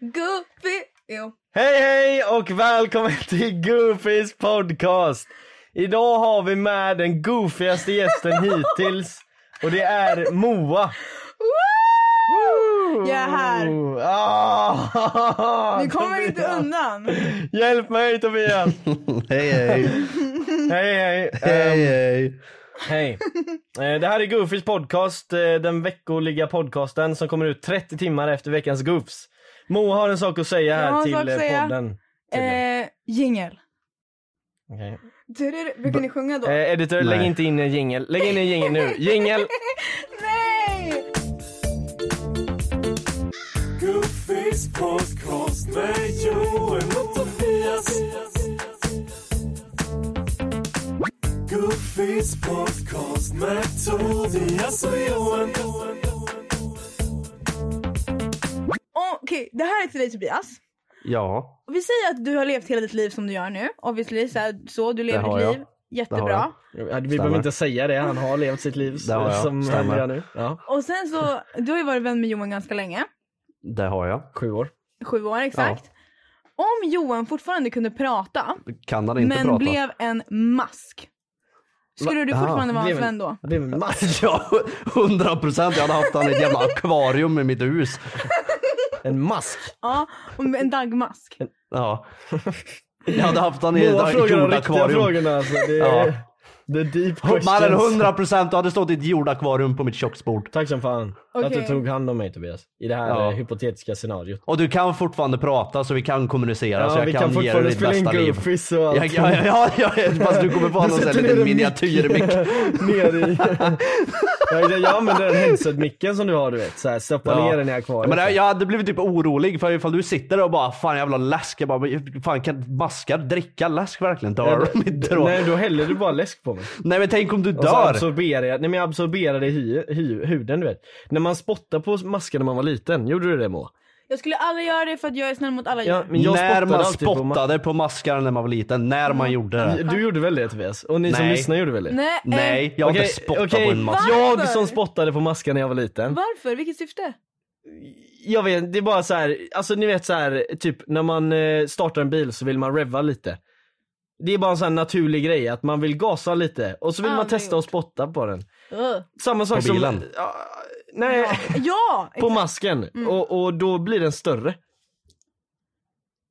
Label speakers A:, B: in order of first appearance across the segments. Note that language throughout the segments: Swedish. A: Goofy! Jo.
B: Hej hej och välkommen till Goofys podcast! Idag har vi med den goofigaste gästen hittills och det är Moa. Woo!
A: Jag är här.
B: Ah!
A: Du kommer inte
B: Tobias.
A: undan.
B: Hjälp mig Tobias!
C: Hej hej,
B: hej hej! Ehm,
C: hej hej.
B: Hej. Eh, Det här är Goofys podcast, eh, den veckoliga podcasten som kommer ut 30 timmar efter veckans goofs. Moa har en sak att säga
A: Jag har en
B: här till
A: sak att
B: eh,
A: säga.
B: podden. tydligen.
A: Eh, jingel.
B: Okej.
A: Tudur, Brukar ni sjunga då?
B: Eh, editor, lägg
C: Nej.
B: inte in en jingel. Lägg in en jingel nu. Jingel!
A: Nej!
D: Goofys podcast med Joel och Tobias. Goofys podcast med Tobias och Johan.
A: Okej, det här är till dig Tobias.
B: Ja.
A: Och Vi säger att du har levt hela ditt liv som du gör nu. Obviously, så, här, så du lever
C: Det har
A: ditt
C: jag.
A: liv.
C: Det har
A: Jättebra.
C: jag.
B: Vi behöver inte säga det, han har levt sitt liv
C: Det har jag.
B: som
C: Stämmer.
B: han gör nu. Ja.
A: Och sen så, du har ju varit vän med Johan ganska länge.
C: Det har jag.
B: Sju år.
A: Sju år exakt. Om Johan fortfarande kunde prata,
C: Kan han inte
A: men
C: prata?
A: blev en mask. Skulle du
C: Va? Ah,
A: fortfarande vara hans
B: blev en-
A: vän då?
B: Det blev en mask.
C: Alltså, Ja, 100 procent. Jag hade haft han i ett jävla akvarium i mitt hus.
B: En mask.
A: Ja, och en dagmask.
C: Ja. Jag hade haft han i
B: Moa
C: ett
B: frågar de riktiga
C: jordakvarium.
B: frågorna alltså. Det
C: Ja.
B: är the deep
C: Mannen
B: questions.
C: 100 procent. Du hade stått i ett jordakvarium på mitt köksbord.
B: Tack som fan att du
A: Okej.
B: tog hand om mig Tobias. I det här
C: Ja.
B: eh, hypotetiska scenariot.
C: Och du kan fortfarande prata så vi kan kommunicera så jag
B: vi
C: kan,
B: kan
C: ge dig
B: fortfarande
C: ditt
B: spela in
C: bästa liv.
B: Goofies och allt.
C: Jag, ja, ja, ja, ja, fast du kommer få ha någon sån här liten miniatyrmick.
B: ner i. jag, jag, jag använder den headset-micken som du har du vet. Så här, liksom. stoppa
C: Ja.
B: ner den i
C: Ja,
B: akvariet.
C: men jag- jag hade blivit typ orolig för ifall du sitter där och bara fan jävla läsk. Jag bara, men fan kan maskar dricka läsk verkligen? Dör de inte då? Nej.
B: Nej då häller du bara läsk på mig.
C: men tänk om du
B: Och så alltså,
C: dör.
B: absorberar jag, nej men jag absorberar det i hy, hy, huden du vet. När man spottar på masken när man var liten, gjorde du det Moa?
A: Jag skulle aldrig göra det för att jag är snäll mot alla
B: Ja,
A: djur.
B: men jag
C: när man
B: alltid på ma-
C: spottade på, maskar när man var liten. När man gjorde det.
B: Du gjorde väl det Tobias? Och ni som
C: Nej.
B: lyssnar gjorde väl det?
A: Nej. eh,
C: Nej, jag har inte spottat på en mask.
B: jag
A: Varför?
B: som spottade på masken när jag var liten.
A: Varför? Vilket syfte?
B: Jag vet det är bara så här, alltså ni vet så här, typ när man eh, startar en bil så vill man revva lite. Det är bara en sån här naturlig grej att man vill gasa lite och så vill
A: Ja,
B: man
A: det är
B: testa och spotta på den.
A: Ugh.
B: Samma sak
C: På
B: som...
C: bilen?
B: Ja, nej,
A: Ja!
B: på
A: exakt. Mm.
B: masken. Och, och då blir den större.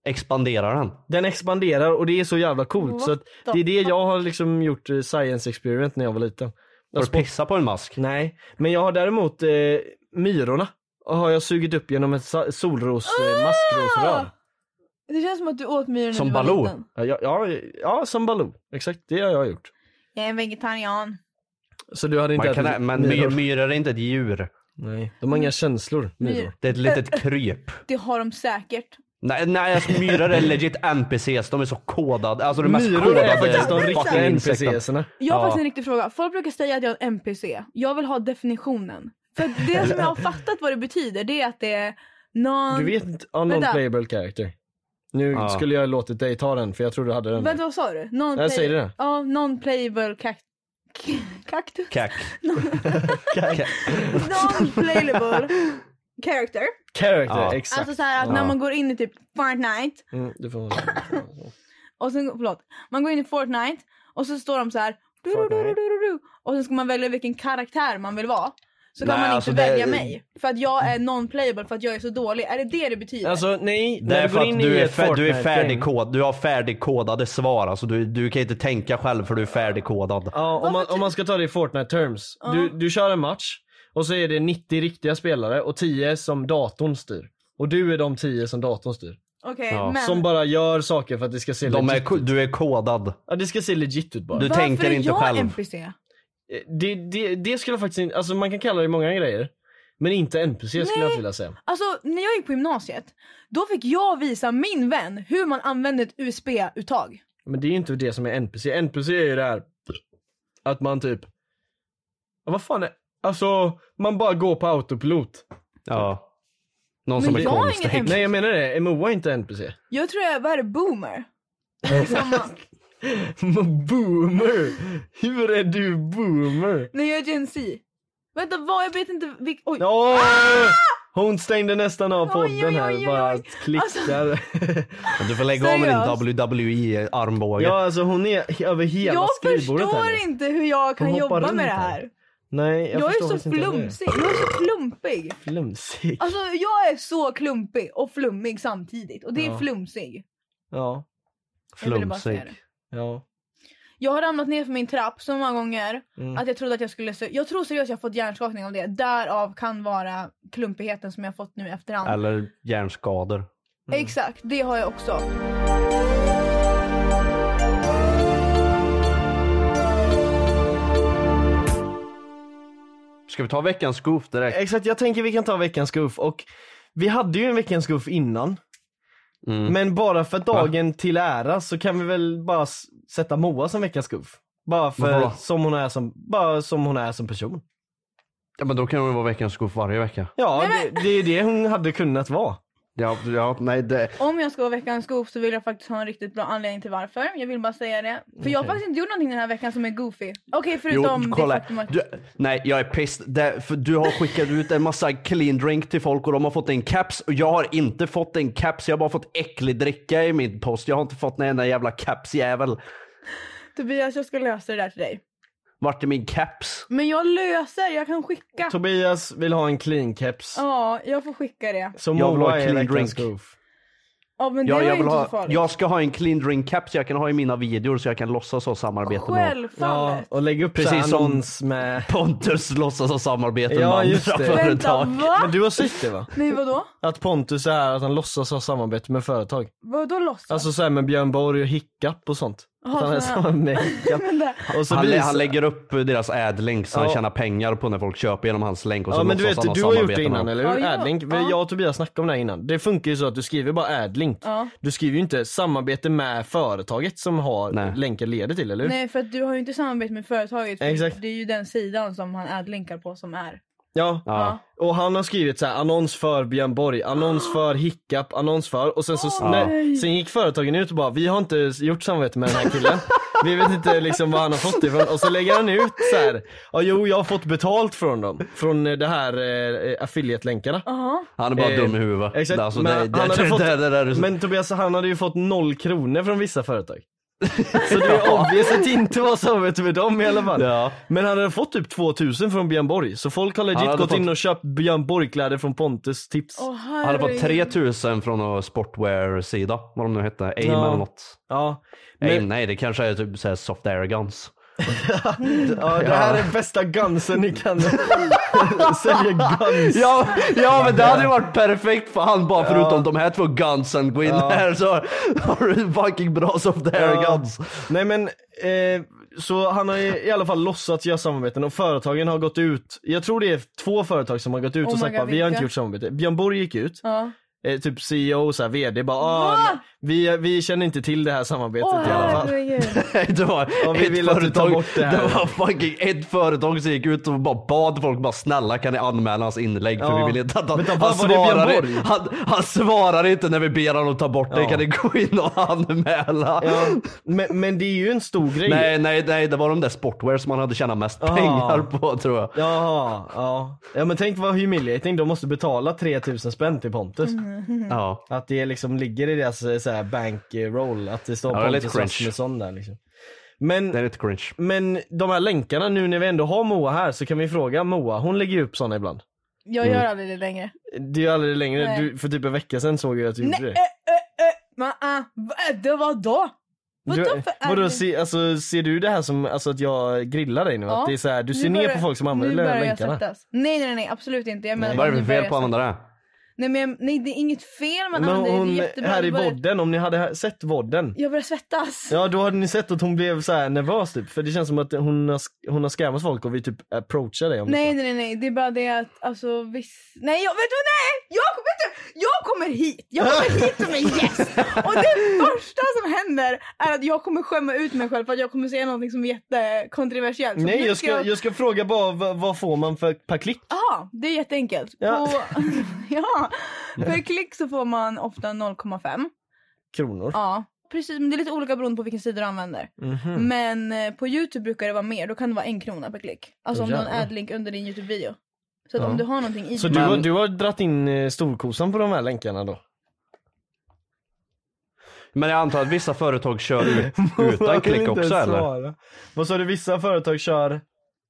C: Expanderar den?
B: Den expanderar och det är så jävla coolt. Så att
A: What
B: det är det
A: the-
B: jag har liksom gjort eh, science experiment när jag var liten. Jag
C: Har du
B: spott-
C: pissat på en mask?
B: Nej, men jag har däremot eh, myrorna. Har jag sugit upp genom ett sa- solros,
A: Ah!
B: eh, maskrosrör.
A: Det känns som att du åt myror när
C: Som
A: du var
C: Baloo.
A: liten.
B: Ja, ja, ja, ja som Baloo. Exakt, det har jag gjort.
A: Jag är en vegetarian.
B: Så du hade inte
C: Man kan,
B: ätit
C: men my- myror är inte ett djur.
B: Nej, de har inga känslor, myror.
A: Myror.
C: Det är ett litet kryp.
A: Det har de säkert.
C: Nej, nej alltså, myror är legit NPCs. De är så kodade. Alltså de mest
B: Myror är
C: kodade
B: faktiskt de riktiga
C: fucking insekterna.
B: NPCserna.
A: Jag har
C: Ja.
A: faktiskt en riktig fråga. Folk brukar säga att jag är en NPC. Jag vill ha definitionen. För att det som jag har fattat vad det betyder det är att det är någon...
B: Du vet inte, ja, non-playable character. Nu
C: Ja.
B: skulle jag ha låtit dig ta den för jag tror du hade den.
A: Vänta vad sa du? Non
B: Jag säger det.
A: Ja, non-playable kakt... k- Kaktus?
C: Kack. Kack.
A: Non-playable character.
B: Character,
C: Ja.
B: exakt.
A: Alltså så här att när
C: Ja.
A: man går in i typ Fortnite
B: Mm, du får...
A: Och sen, förlåt, man går in i Fortnite och så står de så här. Du, du, du, du, du, du, och sen ska man välja vilken karaktär man vill vara. Så kan
C: Nej,
A: man inte
C: alltså det-
A: välja mig. För att jag är non-playable för att jag är så dålig. Är det det det betyder?
B: Alltså nej,
C: Det
B: när
C: är
B: du
C: för
B: går in
C: att
B: i
C: du är,
B: ett
C: fär, du, är
B: Fortnite-gäng-
C: färdigkod, du har färdigkodade svar. Alltså du, du kan inte tänka själv för du är färdigkodad.
B: Ja, om man, om man ska ta det i Fortnite terms. Du, du kör en match och så är det 90 riktiga spelare och 10 som datorn styr. Och du är de 10 som datorn styr.
A: Okej,
C: ja,
A: men
B: Som bara gör saker för att det ska se
C: De är,
B: legit
C: ko- du är kodad.
B: Ja det ska se legit ut bara.
C: Du
A: varför
C: tänker
A: är
C: inte
A: jag
C: själv.
A: NPC?
B: Eh, Det, det, det skulle jag faktiskt inte, alltså man kan kalla det många grejer. Men inte NPC skulle jag inte vilja säga.
A: Alltså när jag gick på gymnasiet, då fick jag visa min vän hur man använder ett USB-uttag.
B: Men det är ju inte det som är NPC. NPC är ju det här att man typ, ja, vad fan är, alltså man bara går på autopilot.
C: Ja. Någon
A: Men
C: som är
A: jag är ingen
C: konstig.
A: NPC.
B: Nej jag menar det, MOA är inte NPC.
A: Jag tror jag, vad är det, boomer? Samma.
B: boomer! Hur är du boomer?
A: Nej jag är Gen Z. Vänta vad, jag vet inte vilk... Oj.
B: Åh! Hon stängde nästan av
A: Oj,
B: podden
A: oj,
B: här,
A: oj, oj,
B: bara
A: oj. Alltså-
B: klickar.
C: Du får lägga av med
A: Seriöst?
C: din E WWE-armbåge.
B: ja alltså hon är över hela
A: Jag
B: skrivbordet
A: förstår
B: här. nu.
A: inte hur jag kan
B: Hon hoppar
A: jobba
B: runt
A: med det
B: här.
A: här.
B: Nej jag,
A: Jag, är
B: förstår
A: så
B: faktiskt inte
A: flumsig.
B: heller.
A: Jag är så klumpig.
B: Flumsig.
A: Alltså jag är så klumpig och flummig samtidigt. Och det är
B: Ja.
A: flumsig.
B: Ja,
A: Jag ville bara säga det.
C: Flumsig.
B: ja.
A: Jag har ramlat ner för min trapp så många gånger
B: Mm.
A: att jag trodde att jag skulle... sö- Jag tror seriöst jag har fått hjärnskakning av det. Därav kan vara klumpigheten som jag har fått nu i efterhand.
C: Eller hjärnskador.
B: Mm.
A: Exakt, det har jag också.
C: Ska vi ta veckans goof direkt?
B: Exakt, jag tänker vi kan ta veckans goof och vi hade ju en veckans goof innan.
C: Mm.
B: Men bara för dagen till ära så kan vi väl bara s- sätta Moa som veckans goof. Bara för
C: Varför då?
B: som hon är som, bara som hon är som person.
C: Ja, men då kan hon vara veckans goof varje vecka.
B: Ja, det, det är det hon hade kunnat vara.
C: Ja, ja nej det...
A: Om jag ska vara veckans goof så vill jag faktiskt ha en riktigt bra anledning till varför. Jag vill bara säga det. För jag har
B: Okej.
A: faktiskt inte gjort någonting den här veckan som är goofy. Okej, förutom
C: Jo,
A: det
C: kolla.
A: faktum att...
C: Du, nej, jag är pissed. Det, för du har skickat ut en massa clean drink till folk och de har fått en caps. Och jag har inte fått en caps. Jag har bara fått äcklig dricka i min post. Jag har inte fått en enda jävla capsjävel.
A: Tobias, jag ska lösa det där till dig.
C: Vart är min caps?
A: Men jag löser, jag kan skicka.
B: Tobias vill ha en clean keps.
A: Ja, jag får skicka det.
B: Så
C: Jag vill
B: Moa
C: ha
B: är
C: clean
B: veckans
C: drink.
B: goof.
A: Ja, men det
C: Ja,
A: var
C: jag,
A: ju
C: vill
A: inte så
C: ha,
A: farligt.
C: jag ska ha en clean drink caps jag kan ha i mina videor så jag kan låtsas ha samarbete med
B: Ja,
A: Självfallet.
B: och lägg upp Precis
C: Precis som-
B: annons med...
C: Pontus låtsas ha samarbete
B: Ja,
C: med andra
B: just det.
A: Vänta,
C: företag.
B: Men
A: va?
B: du har sett det va?
A: Nej, vadå?
B: Att Pontus är att han låtsas ha samarbete med företag.
A: Vadå låtsas?
B: Alltså såhär med Björn Borg och Hiccup och sånt.
A: Jaha,
B: Att han är
A: såna-
B: samma med Hiccup.
A: Men det-
B: Och så
C: Han, lä-
B: visar...
C: han lägger upp deras ad-link så han
B: Ja.
C: tjänar pengar på när folk köper genom hans länk och så
B: Ja men du
C: låtsas
B: vet,
C: han ha
B: du har gjort
C: samarbete
B: det
C: med
B: innan
C: dem.
B: eller
A: Ja,
B: hur?
A: ja.
B: Adlink. Vi-
A: Ja.
B: Jag och Tobias snackade om det här innan. Det funkar ju så att du skriver bara adlink.
A: Ja.
B: Du skriver ju inte samarbete med företaget som har
C: Nej.
B: länken leder till, eller hur?
A: Nej, för att du har ju inte samarbete med företaget. för
B: Exakt.
A: Det är ju den sidan som han adlinkar på som är.
B: Ja.
C: Ja.
B: Och han har skrivit så här, annons för Björn Borg, annons för Hiccup, annons för och sen så
A: Åh,
B: nej,
A: nej.
B: sen gick företagen ut och bara vi har inte gjort samarbete med den här killen. Vi vet inte liksom vad han har fått det ifrån och så lägger han ut så här. Ja jo jag har fått betalt från dem, från eh, det här eh, affiliate-länkarna.
A: Jaha.
C: Han är bara
B: Eh,
C: dum i huvudet.
B: Exakt,
C: Alltså,
B: men,
C: det, det,
B: han hade
C: det,
B: fått,
C: det, det, det, det,
B: men Tobias han hade ju fått noll kronor från vissa företag. Så det är obvious att det inte var samarbete med dem i alla fall.
C: Ja.
B: Men han hade fått typ 2000 från Björn Borg, så folk har
C: Han
B: legit
C: hade
B: gått
C: fått-
B: in och köpt Björn Borg-kläder från Pontus tips.
A: Åh,
C: Han hade fått
A: herregud.
C: 3000 från någon sportwear-sida, vad de nu hette, AIM
B: Ja.
C: eller något.
B: Ja.
C: AIM,
B: Men,
C: nej det kanske är typ såhär soft air guns.
B: ja, det här är bästa gunsen ni kan sälja guns.
C: Ja, ja men det hade ju varit perfekt för han bara förutom de här två gunsen, gå in
B: Ja.
C: här så har du fucking bra soft air
B: Ja.
C: guns.
B: Nej men, eh, så han har ju i alla fall låtsats göra samarbeten och företagen har gått ut, jag tror det är två företag som har gått ut
A: Oh
B: och
A: my
B: sagt
A: God,
B: bara vi
A: vilka?"
B: har inte gjort samarbete. Björn Borg gick ut,
A: Ja.
B: eh, typ CEO och så här, VD bara
A: Va?
B: ah, nej, vi, vi känner inte till det här samarbetet
A: Åh
B: i alla fall.
A: herregud.
C: Det var
B: Ja, vi
C: ett
B: vill att du tar
C: företag,
B: bort det här.
C: var fucking ett företag som gick ut och bara bad folk bara snälla kan ni anmäla hans inlägg för
B: Ja.
C: vi vill inte att han,
B: Men vad
C: han
B: var det Björn
C: svarar
B: Borg?
C: i- han, han svarar inte när vi ber honom ta bort det,
B: Ja.
C: kan ni gå in och anmäla?
B: Ja. Men, men det är ju en stor grej.
C: Nej, nej, nej, det var de där sportwear som han hade tjänat mest
B: Ah.
C: pengar på tror jag.
B: Jaha, ja. ja men tänk vad humiliating, de måste betala 3000 spänn till Pontus.
A: Mm.
C: Ja.
B: Att det liksom ligger i deras eh, så här, bankroll, att det står
C: Ja, det är lite
B: Pontus
C: cringe.
B: Rasmusson där liksom. Men,
C: Det är lite cringe.
B: men de här länkarna nu när vi ändå har Moa här så kan vi fråga Moa, hon lägger ju upp sådana ibland.
A: Jag
B: Mm.
A: gör aldrig det längre.
B: Det är ju aldrig längre,
A: Nej.
B: du, för typ en vecka sedan såg jag att du
A: Nej,
B: gjorde
A: äh,
B: det.
A: äh, äh. Men, äh, vad- det var då? Vadå
B: Du,
A: för
B: vadå,
A: adlink?
B: se, alltså, ser du det här som alltså, att jag grillar dig nu?
A: Ja.
B: Att det är så här, du ser
A: Nu
B: ner
A: börjar-
B: på folk som
A: nu
B: använder de här
A: börjar jag
B: länkarna?
A: svettas. Nej, nej, nej, absolut inte. Jag menar
B: Nej.
C: Vad är
A: om
C: det
A: ni
C: för
A: börjar
C: fel på att
A: svettas.
C: använda det?
A: Nej, men jag- nej, det är inget fel man
B: Men
A: använder. det.
B: hon,
A: det är jättebra.
B: här i
A: Jag börjar-
B: vodden, om ni hade ha- sett vodden.
A: Jag börjar svettas.
B: Ja då hade ni sett att hon blev så här nervös typ, för det känns som att hon har, sk- hon har scammat folk och vi typ approachar dig om
A: Nej,
B: det.
A: nej, nej, nej. Det är bara det att alltså viss... Nej, jag, vet du vad? Nej! Jag, vet du, jag kommer hit! Jag kommer hit som en gäst! Och det första som händer är att jag kommer skämma ut mig själv för att jag kommer säga någonting som är jättekontroversiellt. Så
B: Nej
A: nu
B: jag ska, jag ska fråga bara vad, vad får man för per klick?
A: Ja, det är jätteenkelt.
B: Ja.
A: På... ja. För klick så får man ofta 0,5.
B: Kronor.
A: Ja, precis. Men det är lite olika beroende på vilken sida du använder. Mm.
C: Mm.
B: Mhm.
A: Men eh, på Youtube brukar det vara mer. Då kan det vara en krona per klick. Alltså
B: Åh,
A: om du har en
B: jävlar.
A: adlink under din Youtube-video. Så att
C: Ja.
A: om du har någonting i
B: Så
A: din-
B: du, har-
C: Men-
B: du har dratt in eh, storkosan på de här länkarna då?
C: Men jag antar att vissa företag kör ut, utan
B: Jag kan
C: klick
B: inte
C: också
B: ens
C: eller?
B: svara. Vad sa du, vissa företag kör?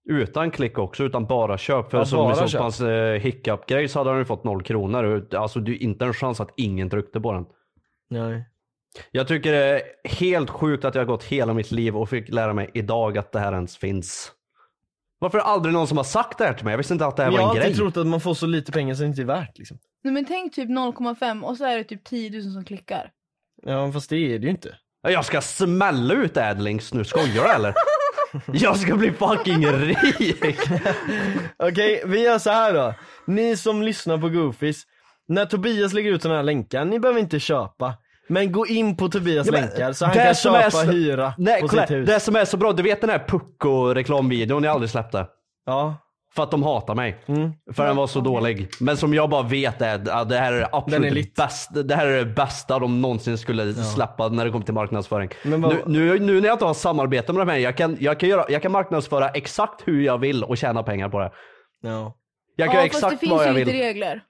C: Utan klick också, utan bara köp. För
B: Ja,
C: som
B: bara
C: vi såg
B: köp.
C: på hans eh, hiccup-grej så hade han ju fått noll kronor. Alltså det är inte en chans att ingen tryckte på den.
B: Nej.
C: Jag tycker det är helt sjukt att jag har gått hela mitt liv och fick lära mig idag att det här ens finns. Varför är det aldrig någon som har sagt det här till mig? Jag visste inte att det här
B: Men jag har
C: var en grej.
B: alltid trott att man får så lite pengar så det inte är värt liksom.
A: Nej, men tänk typ 0,5 och så är det typ 10 000 som klickar.
B: Ja fast det är det ju inte.
C: Jag ska smälla ut Adlings nu, skojar du eller? Jag ska bli fucking rik!
B: Okej, vi gör så här då. Ni som lyssnar på Goofies, när Tobias lägger ut den här länken, ni behöver inte köpa. Men gå in på Tobias
C: Ja, men
B: länkar så han
C: det
B: kan
C: som är
B: köpa
C: så-
B: hyra
C: Nej,
B: på
C: kolla,
B: sitt hus.
C: det som är så bra, du vet den här Pucko-reklamvideon jag aldrig släppte?
B: Ja.
C: För att de hatar mig.
B: Mm.
C: För den var så dålig. Men som jag bara vet är ja, det här är det
B: Den är
C: absolut
B: lit.
C: bästa. Det här är det bästa de någonsin skulle släppa när det kommer till marknadsföring.
B: Men vad-
C: nu, nu, nu när jag inte har samarbete med de här, jag kan, jag, kan göra, jag kan marknadsföra exakt hur jag vill och tjäna pengar på det.
B: ja.
C: Jag kan
A: ja,
C: göra
A: fast det
C: exakt
A: finns
C: vad
A: ju
C: jag
A: lite
C: vill.
A: regler.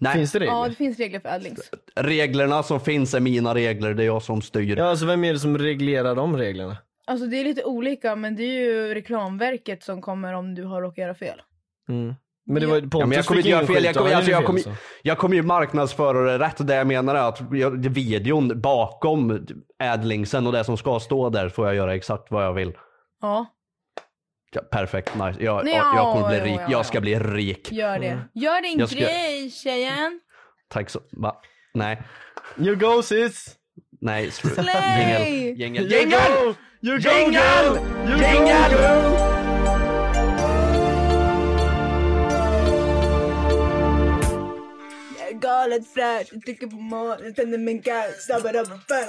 C: Nej,
B: Finns det regler?
A: Ja,
B: Ja,
A: det finns regler för adlings.
C: Reglerna som finns är mina regler, det är jag som styr.
B: alltså vem är det som reglerar de reglerna?
A: Alltså det är lite olika men det är ju reklamverket som kommer om du har råkat göra fel.
B: Mm. Men det
A: Ja.
B: var Pontus
C: Ja, men jag
B: fick
C: kommer inte göra
B: ingen
C: fel.
B: skit,
C: Jag kommer,
B: han
C: alltså,
B: gjorde
C: jag, kommer,
B: fel,
C: jag kommer ju marknadsföra det rätt. Det jag menar är att jag- videon bakom adlingsen och det som ska stå där får jag göra exakt vad jag vill.
A: Ja,
C: Ja, perfekt, nice. Jag,
A: Ja,
C: jag, jag kommer bli
A: ja,
C: rik.
A: ja,
C: Jag ska
A: ja.
C: bli rik.
A: gör det. Gör din
C: Mm. Jag ska-
A: grej tjejen!
C: Tack så... Va? Nej.
B: så. You go sis!
C: Nej. slut.
A: Slay!
C: Jingel. Jingel.
B: You
C: Jingel!
B: go! You go
C: Jingel!
B: girl! You
C: Jingel!
B: go girl!
A: Jag är galet fräsch, jag trycker på målet, tänder min gas, sabbar upp, bara,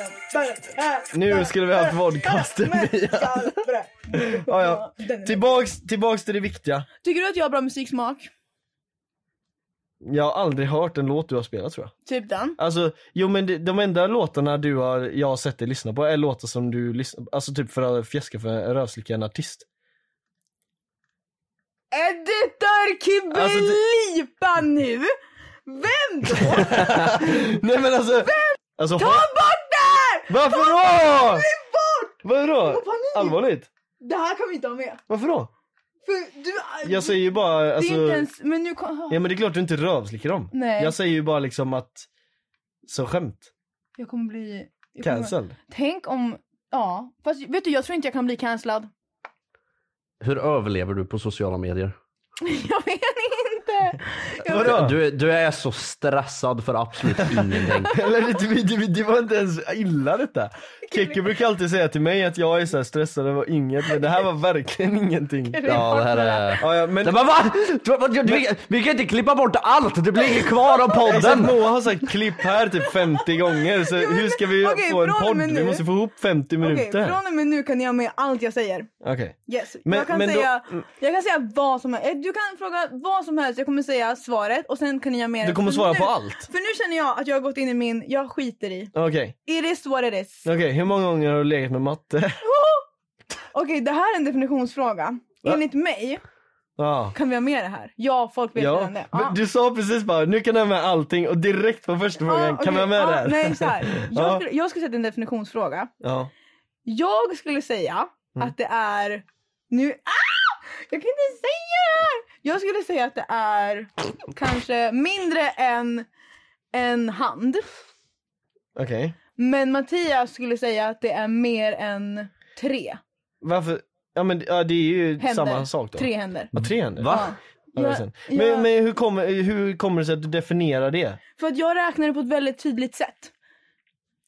A: bara,
B: Nu skulle vi ha haft podcasten Mia. Ja, ja. Typ- Tillbaks, tillbaks till det viktiga.
A: Tycker du att jag har bra musiksmak?
B: Jag har aldrig hört en låt du har spelat tror jag.
A: Typ den.
B: Alltså, jo men det- de enda låtarna du har, jag har sett dig lyssna på är låtar som du lyssnar alltså typ för att fjäska för en rövslicka en artist.
A: Editor
B: Alltså,
A: Kibbelipa nu! Vem då?
B: Nej men alltså! alltså
A: Ta bort det här!
B: varför då? Varför då?
A: panik!
B: Allvarligt?
A: Det här kan vi inte ha med.
B: Varför då?
A: För du,
B: Jag säger ju bara alltså,
A: det är inte ens, men nu kom,
B: Ja men det är klart du inte rövslickar dem.
A: Nej.
B: Jag säger ju bara liksom att, så skämt.
A: Jag kommer bli... jag kommer-
B: Cancelled.
A: Tänk om... Ja. Fast vet du, jag tror inte jag kan bli cancellad.
C: Hur överlever du på sociala medier?
A: Jag vet inte. Jag
B: Vadå? Ja.
C: Du, du är så stressad för absolut ingenting.
B: Eller det, det, det, det var inte ens illa detta. Keke brukar alltid säga till mig att jag är så här stressad över inget men det här var verkligen ingenting.
C: Ja, det här är...
B: Ja, ja, men
C: Nej, Men va? Du- vad- du- Vi, vi kan inte klippa bort allt, det blir inget kvar av
B: Exakt,
C: podden.
B: Moa har sagt klipp här typ 50 gånger så
A: men-
B: hur ska vi
A: okej,
B: få en
A: från och
B: podd?
A: med
B: Vi
A: nu-
B: måste få ihop 50
A: Okej,
B: minuter.
A: från och med nu kan jag ha med allt jag säger.
B: Okej.
A: Yes.
B: Men-
A: jag, kan
B: men då-
A: säga, jag kan säga vad som helst. Du kan fråga vad som helst, jag kommer säga svaret och sen kan ni ha med
B: Du kommer
A: För
B: svara
A: nu,
B: på allt?
A: För nu känner jag att jag har gått in i min, jag skiter i.
B: Okej,
A: It is what it is.
B: okej hur många gånger har du legat med matte?
A: Okej, det här är en definitionsfråga.
B: Va?
A: Enligt mig
B: Ja.
A: kan vi ha med det här. Ja, folk vet
B: Ja,
A: redan det. Ah. Ja.
B: men du sa precis bara nu kan jag ha med allting och direkt på första frågan
A: Ja,
B: kan
A: Ah, okej,
B: man ha med
A: ja,
B: det här?
A: Nej, så här. Jag,
B: Ja.
A: skulle, jag skulle sätta en definitionsfråga.
B: Ja.
A: Jag skulle säga
B: Mm.
A: att det är... Nu... Ah! Jag kan inte säga det här! Jag skulle säga att det är kanske mindre än en hand.
B: Okej.
A: Men Mattias skulle säga att det är mer än tre
B: Varför? Ja men ja, det är ju
A: händer.
B: samma sak då.
A: Tre händer.
B: Ja, tre händer.
C: Va?
B: Ja,
A: Jag-
B: det är sant.
A: jag-
B: Men, men hur, kommer, hur kommer det sig att du definierar det?
A: För att jag räknade på ett väldigt tydligt sätt.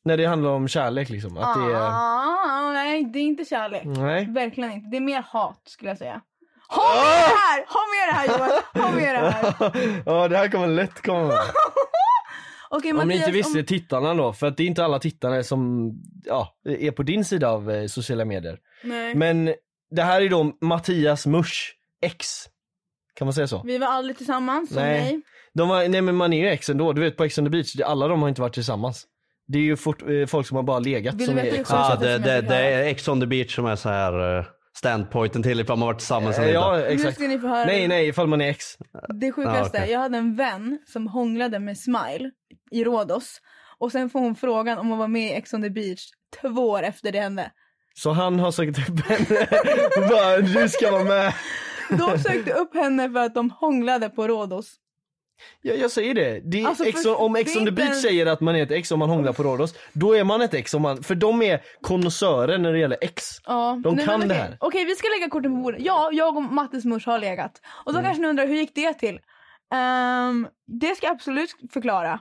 B: När det handlar om kärlek liksom? Att det är... Mm.
A: ah, nej, det är inte kärlek.
B: Nej.
A: Verkligen inte. Det är mer hat skulle jag säga. Ha
B: Ah!
A: med det här! Ha med det här Johan! Ha med det här!
B: ja det här kommer lätt komma.
A: Okej
B: Om ni
A: Mattias,
B: inte visste tittarna då, för att det är inte alla tittare som ja, är på din sida av eh, sociala medier.
A: Nej.
B: Men det här är då Mattias Musch, ex. Kan man säga så?
A: Vi var aldrig tillsammans, som
B: Nej.
A: nej.
B: De har, nej men man är ju ex ändå, du vet på Ex on the beach, det- alla de har inte varit tillsammans. Det är ju fort, eh, folk som har bara legat
A: Vill du
B: som är
A: veta hur
B: ex.
A: sjukt
C: Ja,
A: det
C: det,
A: som jag
C: det,
A: fick
C: det är Ex on the beach som är så här eh, standpointen till ifall man varit tillsammans eller inte.
B: Eh, Ja,
A: Nu
B: exakt.
A: ska ni få höra
B: Nej, nej, ifall man är ex.
A: det sjukaste.
C: Ja, okej.
A: Jag hade en vän som hånglade med Smile i Rhodos. Och sen får hon frågan om hon var med i Ex on the beach två år efter det hände.
B: Så han har sökt upp henne och bara du ska vara med.
A: De sökte upp henne för att de hånglade på Rhodos.
B: Ja, jag säger det. det är
A: Alltså,
B: ex
A: för-
B: on, om Ex
A: det är
B: on the
A: inte
B: beach
A: en-
B: säger att man är ett ex om man hånglar på Rhodos, då är man ett ex om man, för de är konnässörer när det gäller ex.
A: Ja.
B: De kan
A: men
B: det
A: okej.
B: här.
A: Okej, vi ska lägga korten på bordet. Ja, jag och Mattes mors har legat. Och
B: Mm.
A: då kanske ni undrar, hur gick det till? Ehm, det ska jag absolut förklara.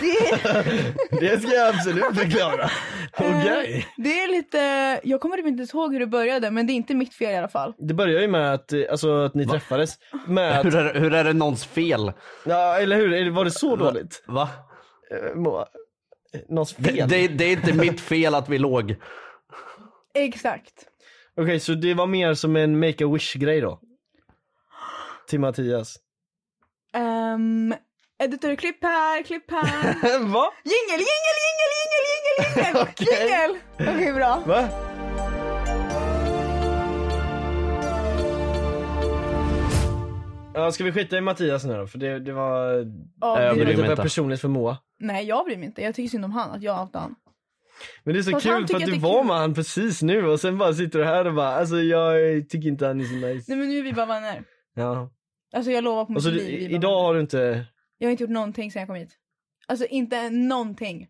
A: Det,
B: Det ska jag absolut förklara. Okej.
A: eh, det är lite, jag kommer typ inte ens ihåg hur det började men det är inte mitt fel i alla fall.
B: Det börjar ju med att, eh, alltså, att ni träffades. Med att,
C: Hur är, hur är det någons fel?
B: ja, eller hur? Är det- Var det så dåligt?
C: Va?
B: Eh, må- eh, Någons fel?
C: Det, det, det är inte mitt fel att vi låg.
A: Exakt.
B: Okej, så det var mer som en make a wish grej då? Till Mattias.
A: Um, editor, klipp här, klipp här.
B: Va?
A: Jingel, jingel, jingel, jingel, jingel, jingel!
B: Okej.
A: Jingel! Okej, bra.
B: Va? Ja, ska vi skita i Mattias nu då? För det, det var...
A: Ja,
C: Eh,
B: det
A: det,
B: var
C: bryr mig
B: typ
C: inte.
B: personligt för Moa.
A: nej, jag bryr mig inte. Jag tycker synd om han, att jag outade han.
B: Men det är så
A: Fast han
B: kul för
A: tycker
B: att
A: att
B: du
A: det är
B: var
A: kul.
B: med han precis nu och sen bara sitter du här och bara alltså jag tycker inte han är så nice.
A: Nej men nu är vi bara vänner.
B: Ja.
A: Alltså jag lovar på mitt
B: Och så du,
A: liv. vi är bara
B: idag har du inte,
A: Jag har inte gjort någonting sen jag kom hit. Alltså inte någonting.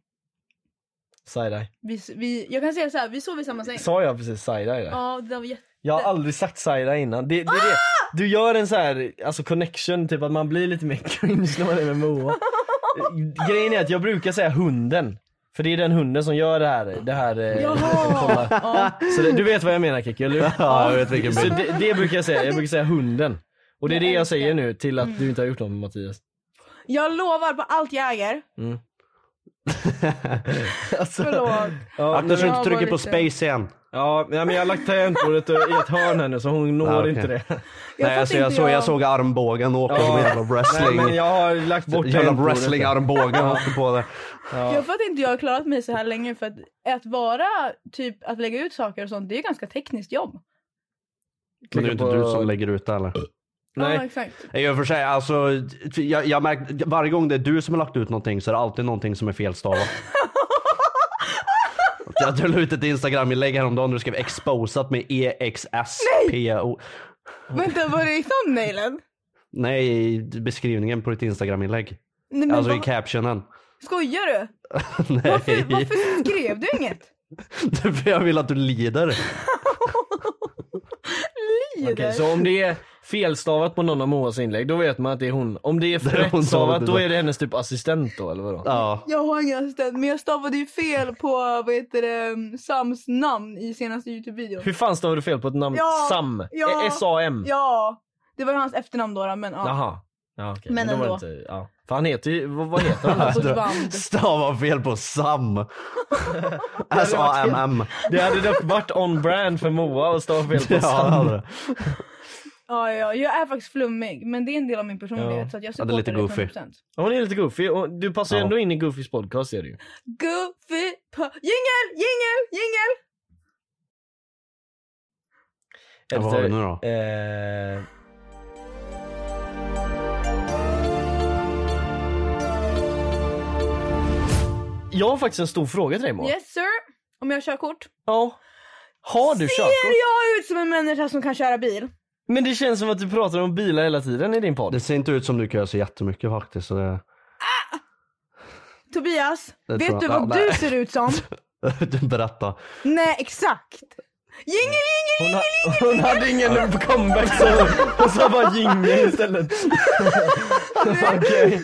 B: side-eye.
A: Vi, vi, jag kan säga så här, vi sov i samma säng.
B: Sa jag precis side-eye där?
A: Ja, det Ah! där var jätte...
B: Jag har aldrig sagt side-eye innan. Det, det är det. Du gör en så här, alltså connection, typ att man blir lite mer cringe när man är med Moa. Grejen är att jag brukar säga hunden. För det är den hunden som gör det här, det här eh,
A: Jaha! ja.
B: Så det, du vet vad jag menar Kikki, eller hur?
C: Ja, jag vet vilken
B: Så
C: bild.
B: det, det brukar jag säga, jag brukar säga hunden. Och det är det jag
A: älskar.
B: säger nu till att du inte har gjort något med Mattias.
A: Jag lovar på allt jag äger. Alltså, Förlåt.
B: Ja,
C: Akta så du
A: jag
C: inte
A: var
C: trycker på
A: lite-
C: space igen.
B: ja, nej, men jag har lagt tangentbordet i ett hörn här nu så hon når
C: Ja, Ah, okej.
B: inte det.
A: Jag
C: Nej,
A: fattar
C: alltså, jag,
A: inte,
C: såg, jag
A: jag-
C: såg armbågen åka
B: Ja.
C: som en jävla
B: Nej
C: wrestling.
B: men jag har lagt bort
C: Jävla
B: tangentbordet.
C: wrestlingarmbågen åkte på det.
A: Jag fattar inte jag har klarat mig så här länge för att, att vara typ att lägga ut saker och sånt det är ju ganska tekniskt jobb.
C: Men det är
B: Klicka
C: inte
B: på-
C: du som lägger ut det eller?
A: Ja,
B: Nej.
A: exakt.
C: Nej, I och för sig, alltså, jag, jag märkt, varje gång det är du som har lagt ut någonting så är det alltid någonting som är felstavat. Jag jag la ut ett instagram-inlägg häromdagen där du skrev exposat med E E-X-S-P-O.
A: Vänta, var det i thumbnailen?
C: Nej, i beskrivningen på ditt instagram-inlägg.
A: Nej, men
C: Alltså i
A: vad-
C: captionen.
A: Skojar du?
C: Nej,
A: Varför, varför skrev du inget?
C: för jag vill att du lider.
A: Lider.
B: Okej, så om det är felstavat på någon av Moas inlägg, då vet man att det är hon. Om det är
C: är hon som har
B: rättstavat,
C: det
B: då
C: där.
B: är det hennes typ assistent då eller vadå?
C: Ja.
A: Jag har ingen assistent men jag stavade ju fel på vad heter det, mm, Sams namn i senaste Youtube-videon.
B: Hur fan stavar du fel på ett namn?
A: Ja,
B: Sam?
A: ja.
B: E- S-A-M?
A: Ja, det var ju hans efternamn då, då men ja.
B: Jaha. Ja, okej.
A: Men
B: då var det
A: ändå.
B: Inte, ja. För han heter ju, vad, vad heter han?
A: På ett band.
C: Stava fel på Sam. S-A-M-M.
B: Det hade dock varit on brand för Moa att stava fel på
C: Ja, det
B: Sam.
C: hade det.
A: Ja, ja, jag är faktiskt flummig men det är en del av min personlighet
B: Ja.
A: så att jag
C: Ja, det
A: supportar
C: är lite goofy.
A: 100%.
B: Hon är lite goofy och du passar ju
C: Ja.
B: ändå in i Goofys podcast är det ju.
A: Goofy på... Jingel, jingel, jingel!
C: Ja, vad har vi nu då?
B: Eh... Jag har faktiskt en stor fråga till dig Moa.
A: Yes sir. Om jag har körkort.
B: Ja. Har du
A: Ser
B: körkort?
A: jag ut som en människa som kan köra bil?
B: Men det känns som att du pratar om bilar hela tiden i din podd.
C: Det ser inte ut som du kan göra så jättemycket faktiskt. Så det...
A: Tobias,
C: Det tror
A: vet
C: jag-
A: du
C: Ja,
A: vad
C: nej.
A: du ser ut som?
C: Du Berätta.
A: nej, exakt. Jingel, jingel!
B: Hon, ha, hon hade ingen comeback så hon sa bara jingel istället. Okej.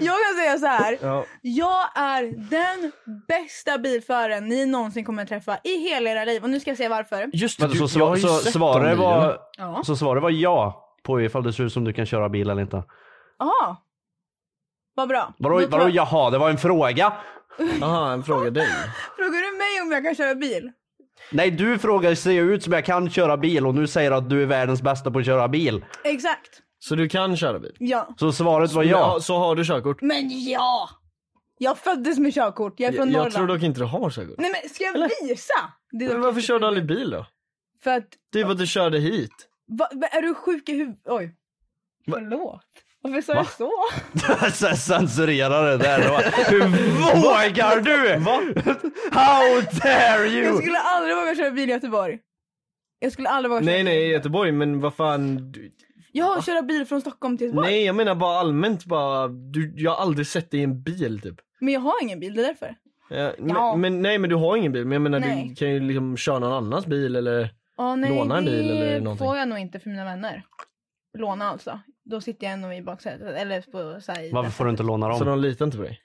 A: Jag kan säga så här.
B: Ja.
A: Jag är den bästa bilföraren ni någonsin kommer träffa i hela era liv. Och nu ska jag säga varför.
B: Just
C: Men
B: du-
C: så,
B: jag har
C: svar,
B: ju
C: så,
B: sett
C: svaret
B: de videorna.
C: var,
A: Ja.
C: så svaret var ja på ifall det ser ut som du kan köra bil eller inte.
A: Aha. Vad bra. Då
C: Vadå,
A: tror
C: vadå
A: jag-
C: jaha, det var en fråga?
B: Jaha, en fråga dig.
A: Frågar du mig om jag kan köra bil?
C: Nej du frågar ser jag ut som jag kan köra bil och nu säger du att du är världens bästa på att köra bil.
A: Exakt.
B: Så du kan köra bil?
A: Ja.
C: Så svaret var ja.
B: Så har du körkort?
A: Men ja! Jag föddes med körkort. Jag är från
B: jag
A: Norrland.
B: tror dock inte du har körkort.
A: Nej men ska jag visa? Det är dock
B: Men varför
A: jättekul.
B: kör du aldrig bil då?
A: För att,
B: Typ att du körde hit.
A: va, men är du sjuk i huvudet? Oj. Förlåt. Varför sa jag så?
C: Så jag Censurerar det där. Hur vågar du? How dare
A: Jag
C: you?
A: skulle aldrig våga köra bil i Göteborg. Jag skulle aldrig våga köra
B: Nej
A: bil.
B: nej i Göteborg men vad fan. Du,
A: Jag har köra bil från Stockholm till Göteborg.
B: nej jag menar bara allmänt bara. Du, jag har aldrig sett dig i en bil typ.
A: Men jag har ingen bil, det är därför.
B: Ja, men-
A: Ja.
B: Men, nej men du har ingen bil men jag menar du
A: Nej.
B: kan ju liksom köra någon annans bil eller.
A: Ja, nej,
B: Låna en
A: det
B: bil eller någonting.
A: får jag nog inte för mina vänner. Låna alltså. Då sitter jag ändå i baksätet. Eller på, så här, i
C: Varför får du inte låna
B: Så
C: dem?
B: de litar inte på dig.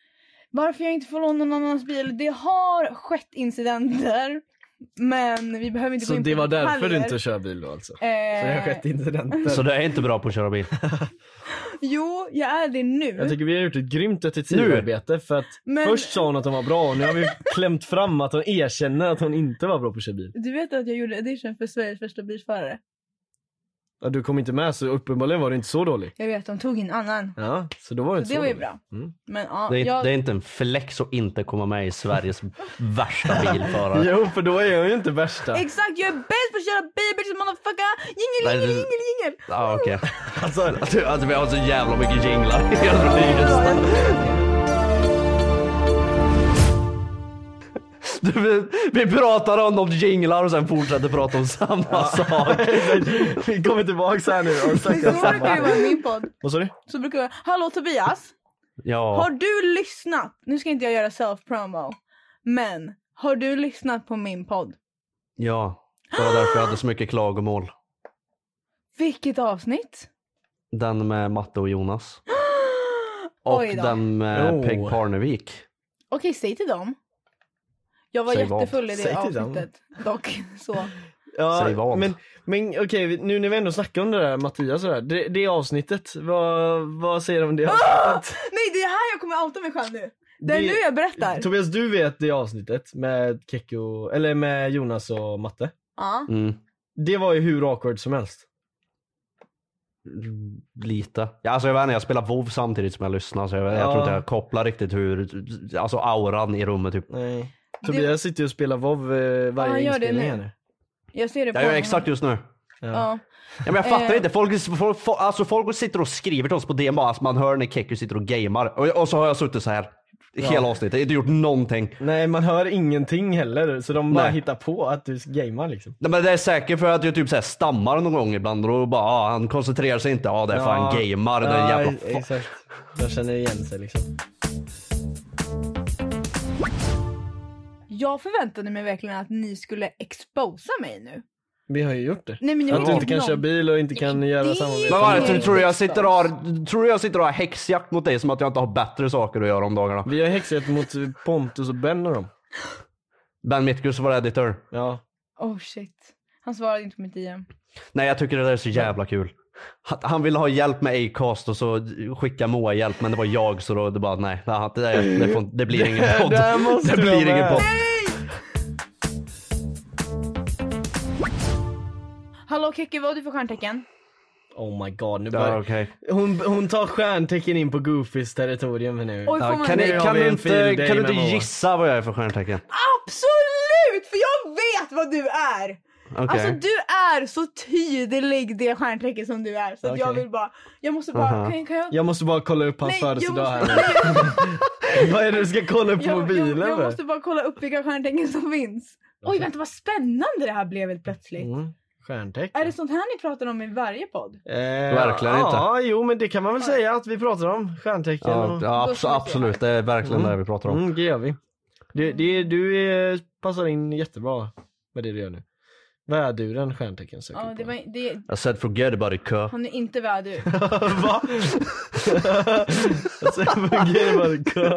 A: Varför jag inte får låna någon annans bil? Det har skett incidenter. Men vi behöver inte
B: Så
A: gå in på
B: det var
A: detaljer.
B: därför du inte kör bil då alltså? Så det har
A: Eh,
B: skett incidenter.
C: Så du är inte bra på att köra bil?
A: jo, jag är det nu.
B: Jag tycker vi har gjort ett grymt detektivarbete för att
A: Men-
B: först sa hon att hon var bra och nu har vi klämt fram att hon erkänner att hon inte var bra på att köra bil.
A: Du vet att jag gjorde audition för Sveriges första bilförare?
B: Ja, Du kom inte med så uppenbarligen var du inte så dålig.
A: Jag vet, de tog en annan.
B: Ja, så då var det
A: Så
B: inte
A: det
B: så
A: var ju
B: dålig.
A: bra.
B: Mm.
A: Men ja,
C: Det är,
A: jag...
C: det är inte en flex att inte komma med i Sveriges värsta bilförare.
B: Jo för då är jag ju inte värsta.
A: Exakt, jag är bäst på att köra bil, bitch motherfucker!
C: Nej,
A: Jingel,
C: det-
A: jingel, jingel, jingel!
C: Ja, okej. Alltså, att, vi- att vi har så jävla mycket jinglar i hela videon. Du, vi- Vi pratar om något jinglar och sen fortsätter prata om samma sak.
B: Vi kommer tillbaks här nu och
A: Så
B: snackar
A: brukar det
B: samma.
A: vara i min podd.
B: Vad sa du?
A: Så brukar jag Hallå Tobias!
C: Ja,
A: Har du lyssnat? Nu ska inte jag göra self-promo. Men, har du lyssnat på min podd?
C: ja. Det var därför jag hade så mycket klagomål.
A: Vilket avsnitt?
C: Den med Matte och Jonas. Och
A: Oj då.
C: den med
B: Oh.
C: Peg Parnevik.
A: Okej, säg till dem. Jag var
C: Säg vad?
A: jättefull i det
B: Säg till dem.
A: avsnittet. Dock, så.
B: Ja,
C: Säg vad.
B: Men, men okej vi- nu när vi ändå snackar om det där Mattias och det, där, det, det avsnittet, vad, vad säger du om det avsnittet?
A: Nej, det är här jag kommer outa mig själv nu. Det är
B: Det-
A: nu jag berättar.
B: Tobias du vet det avsnittet med Kekko, eller med Jonas och Matte.
A: Ja.
C: Mm.
B: Det var ju hur awkward som helst.
C: Lite. Ja, alltså jag vet inte, jag spelar WoW samtidigt som jag lyssnar så jag, jag
B: Ja.
C: tror inte jag kopplar riktigt hur, alltså auran i rummet typ.
B: Nej. Tobias sitter ju och spelar WoW eh,
A: Ja, han
B: varje
A: gör det
B: inspelning
A: nu.
B: här nu.
A: Jag ser det på
C: Jag gör
A: honom.
C: exakt just nu.
A: Ja.
C: Ja, men jag fattar
A: Eh.
C: inte. Folk, folk, folk- alltså folk sitter och skriver till oss på DM bara. Alltså man hör när Keku sitter och gamer. Och, och så har jag suttit så här hela avsnittet. Inte gjort någonting.
B: Nej man hör ingenting heller så de bara
C: Nej.
B: hittar på att du gamear liksom.
C: Nej, men det är säkert för att jag typ så här stammar någon gång ibland. Och då bara ah, han koncentrerar sig inte. Ja det är för han gamer. Den
B: Ja,
C: jävla fa-
B: Exakt. De känner igen sig liksom.
A: Jag förväntade mig verkligen att ni skulle exposa mig nu.
B: Vi har ju gjort det.
A: Nej, men ni
B: att
A: har
B: du
A: ju
B: inte kan
A: någon-
B: köra bil och inte kan göra
A: det-
B: samarbete.
C: men vad är det, tror, du jag
A: Exakt.
C: sitter och har, tror du jag sitter och har häxjakt mot dig som att jag inte har bättre saker att göra om dagarna?
B: Vi har häxat mot Pontus och Ben och dem.
C: Ben Mitkus var editor.
B: Ja.
A: Oh shit. Han svarade inte på mitt DM.
C: Nej jag tycker det där är så jävla kul. Han- Han ville ha hjälp med Acast och så skickade Moa hjälp men det var jag så då det bara nej, nej det, där, det, får, det blir ingen podd.
B: Mm. där måste
C: Det
B: du
C: blir
B: vara
C: ingen
B: med.
C: podd.
A: Hallå Keke, vad har du för stjärntecken?
B: Oh my god. Nu
C: Ja,
B: bara...
C: okej.
B: hon, hon tar stjärntecken in på Goofys territorium här nu.
A: Oj, får
C: ja,
A: man
C: kan
A: det?
C: ni-
B: har
C: kan
B: vi
C: du
B: en
C: inte,
B: fin day
C: kan du inte
B: med Moa.
C: gissa vad jag är för stjärntecken?
A: Absolut! För jag vet vad du är!
C: Okej.
A: Alltså du är så tydlig det stjärntecken som du är. Så att jag
B: Okej.
A: vill bara, jag måste bara,
C: Aha.
A: kan, kan jag?
B: Jag måste bara kolla upp hans
A: Nej, jag
B: födelsedag här
A: måste-
B: nu. Vad är det du ska kolla upp på
A: Jag,
B: mobilen
A: jag, jag
B: för?
A: måste bara kolla upp vilka stjärntecken som finns. Oj vänta vad spännande det här blev helt plötsligt.
B: Mm. Stjärntecken?
A: Är det sånt här ni pratar om i varje podd?
B: Eh,
C: Verkligen
B: ja,
C: inte.
B: Ja, jo men det kan man väl säga att vi pratar om. Stjärntecken
C: Ja,
B: och...
C: ja,
A: Då ska
C: abso-
A: vi se.
C: absolut, det är verkligen det vi pratar om.
B: Mm, det gör vi. Du, det, du eh, passar in jättebra med det du gör nu. Väduren stjärntecken söker
A: Ja,
B: du
A: det
B: på.
A: var, det,
C: I said forget about it kö.
A: han är inte vädur.
B: Va? alltså, jag fungerar bara kö.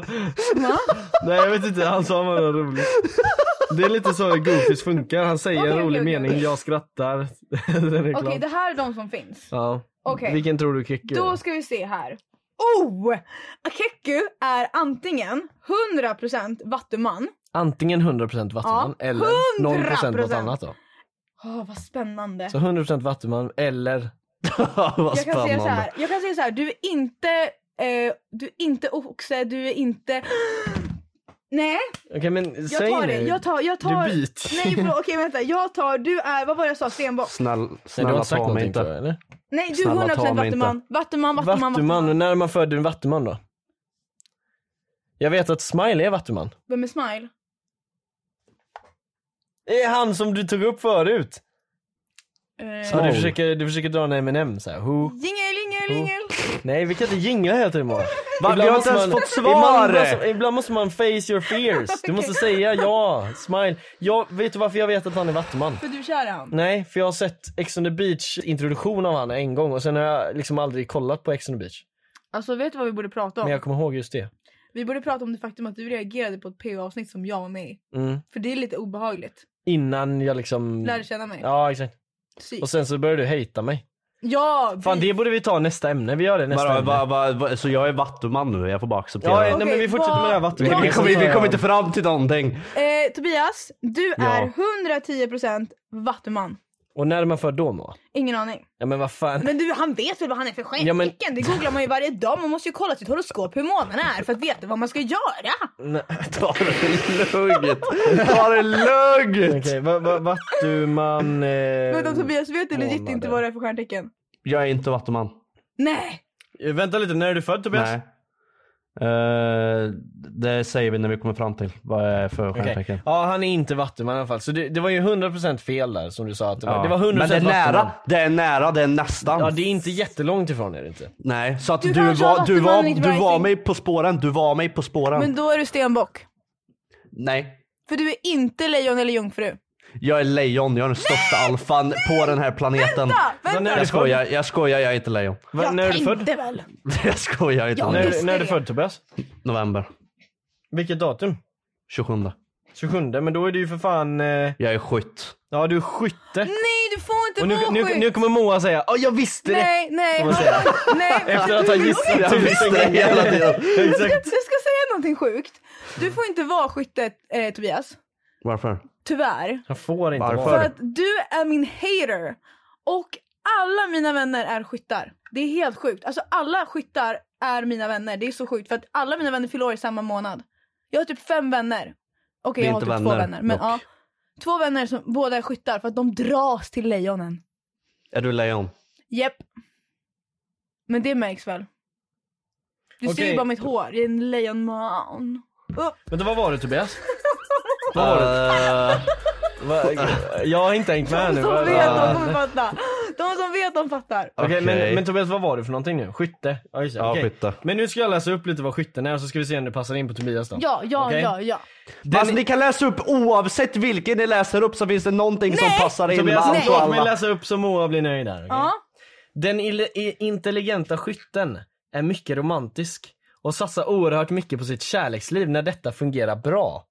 A: Va?
B: Nej jag vet inte, han sa bara något roligt. Det är lite så Goofys funkar, han säger
A: Okej,
B: en
A: okej,
B: rolig
A: okej.
B: mening, jag skrattar. Den är
A: Okej,
B: klar.
A: det här är de som finns.
B: Ja.
A: Okej.
B: Vilken tror du Kekki
A: Då
B: är?
A: ska vi se här. Oh! Akeku är antingen 100% vattuman.
B: Antingen 100% vattuman
A: Ja,
B: eller 0% något
A: 100%.
B: annat då.
A: Åh, vad spännande.
B: Så 100% vattuman eller
C: vad
A: Jag kan, säga så
C: spännande.
A: här, jag kan säga så här, du är inte eh, du är inte oxe, du är inte Nej,
B: Okej men
A: jag
B: säg
A: tar
B: nu.
A: det. Jag tar, jag tar...
B: Du byter.
A: Nej förlåt, okej vänta. Jag tar, du är, vad var det jag sa? Stenbock?
C: Snäll,
B: Nej, du har
C: snälla
B: inte sagt
C: ta mig
B: någonting tror
C: inte.
B: jag eller?
A: Nej du är
C: Snälla,
A: 100%
C: ta
A: vattuman.
C: mig inte.
A: Vattuman, vattuman, vattuman.
B: Vattuman, och när man födde en vattuman då? Jag vet att Smile är vattuman.
A: Vem är Smile?
B: Det är han som du tog upp förut.
A: Eh,
B: Ja, du,
C: Smile.
B: försöker, du försöker dra en M&M så här. Who?
A: jingel, jingel,
B: Oh.
A: jingel.
B: Nej vi kan inte jingla hela tiden Moa. Ibland
C: Vi har
B: måste
C: inte ens
B: man-
C: fått
B: Ibland
C: svar!
B: måste, ibland måste man face your fears. Du måste säga ja, smile. Jag, vet du varför jag vet att han är vattuman?
A: För du kör han.
B: Nej, för jag har sett Ex on the beach introduktion av han en gång och sen har jag liksom aldrig kollat på Ex on the beach.
A: Alltså vet du vad vi borde prata om?
B: Men jag kommer ihåg just det.
A: Vi borde prata om det faktum att du reagerade på ett PO-avsnitt som jag var med i.
B: Mm.
A: För det är lite obehagligt.
B: Innan jag liksom...
A: Lärde känna mig.
B: Ja exakt.
A: Psyk.
B: Och sen så började du hejta mig.
A: Ja!
B: Fan
A: vi-
B: det borde vi ta nästa ämne, vi gör det nästa
C: Bara,
B: ämne.
C: va, va, va, så jag är vattuman nu, jag får bara
B: Ja,
C: acceptera det.
B: nej, men vi
A: Okej,
B: fortsätter med det här
A: vad-
B: vattuman.
C: Vi
A: Vi
C: kommer, vi kommer inte fram till någonting.
A: Eh, Tobias, du är
C: Ja.
A: 110% vattuman.
B: Och när är man född då Moa?
A: Ingen aning.
B: Ja men vad fan.
A: Men du, han vet väl vad han är för stjärntecken?
B: Ja, men-
A: Det googlar man ju varje dag. Man måste ju kolla sitt horoskop hur månaden är för att veta vad man ska göra.
C: Ta det lugnt. Ta det lugnt.
B: Okej, va, va, vattuman... Eh,
A: Vänta Tobias, vet du legit
B: månaden.
A: inte vad det är för stjärntecken?
C: Jag är inte vattuman.
A: Nej!
B: Eh, Vänta lite, när är du född Tobias?
C: Nej. Eh, det säger vi när vi kommer fram till vad jag är för
B: Okej.
C: stjärntecken.
B: Ja han är inte vattuman i alla fall. Så det, det var ju 100% fel där som du sa att det var.
C: Ja.
B: Det var 100%
C: Men det är
B: vattuman.
C: nära, det är nära, det är nästan.
B: Ja det är inte jättelångt ifrån är det inte.
C: Nej, så att
A: Du
C: du,
A: kanske har
C: var, du,
A: vattuman
C: var,
A: men inte
C: du var
A: rising.
C: mig på spåren, du var mig på spåren.
A: Men då är du stenbock.
C: Nej,
A: För du är inte lejon eller jungfru.
C: jag är lejon, jag är den största alfan på den här planeten.
A: Ja,
B: Men när-
A: vänta!
C: Jag skojar, jag skojar, jag är inte lejon.
B: Va, när är du född?
A: tänkte väl.
C: Jag skojar, jag är inte
A: Ja,
B: När,
C: lejon.
B: är
A: Visst
B: du-
A: är
B: när är du
A: det.
B: född Tobias?
C: November,
B: Vilket datum?
C: 27.
B: 27 men då är du ju för fan... Eh,
C: Jag är skytt.
B: ja du är skytte.
A: Nej du får inte
B: Och nu,
A: vara
B: nu,
A: sjuk.
B: nu kommer Moa säga ja jag visste det!
A: Nej, nej.
B: Får man
A: han- nej.
B: Efter att ha gissat
C: Jag visste
B: tusen
C: det hela
B: gånger.
C: tiden.
B: Exakt.
A: Jag ska säga någonting sjukt. Du får inte vara skytte eh, Tobias.
C: Varför?
A: Tyvärr.
B: Han får inte
C: Varför?
A: För
B: vara
A: att du är min hater. Och alla mina vänner är skyttar. Det är helt sjukt. Alltså alla skyttar är mina vänner. Det är så sjukt för att alla mina vänner fyller år i samma månad. Jag har typ fem vänner. Okej
C: Vi är
A: jag har
C: inte
A: typ två
C: vänner,
A: vänner. Men,
C: dock.
A: ja, två vänner som båda är skyttar för att de dras till lejonen.
C: Är du lejon?
A: Japp. Men det märks väl? Du ser
B: Okej.
A: ju bara mitt hår. Det är en lejonman.
B: Vänta vad var det Tobias? Vad var det?
C: Eh,
B: Va, jag har inte hängt med här
A: De
B: nu.
A: som
B: Vad-
A: vet
B: vad-
A: de kommer fatta. De som vet de fattar.
B: Okej men,
C: Okej.
B: men Tobias vad var det för någonting nu? Skytte? Ja, just det.
C: Ja,
B: Okej.
C: skytte.
B: Men nu ska jag läsa upp lite vad skytten är så ska vi se om det passar in på Tobias då.
A: Ja, ja,
B: Okej?
A: ja, ja.
B: Den-
C: Alltså, ni kan läsa upp oavsett vilken ni läser upp så finns det någonting
A: Nej!
C: som passar in med
B: Tobias
C: allt och
B: låt mig
C: alla.
B: läsa upp så Moa blir nöjd där. okej?
A: Ja.
B: Den ille- i- intelligenta skytten är mycket romantisk och satsar oerhört mycket på sitt kärleksliv när detta fungerar bra.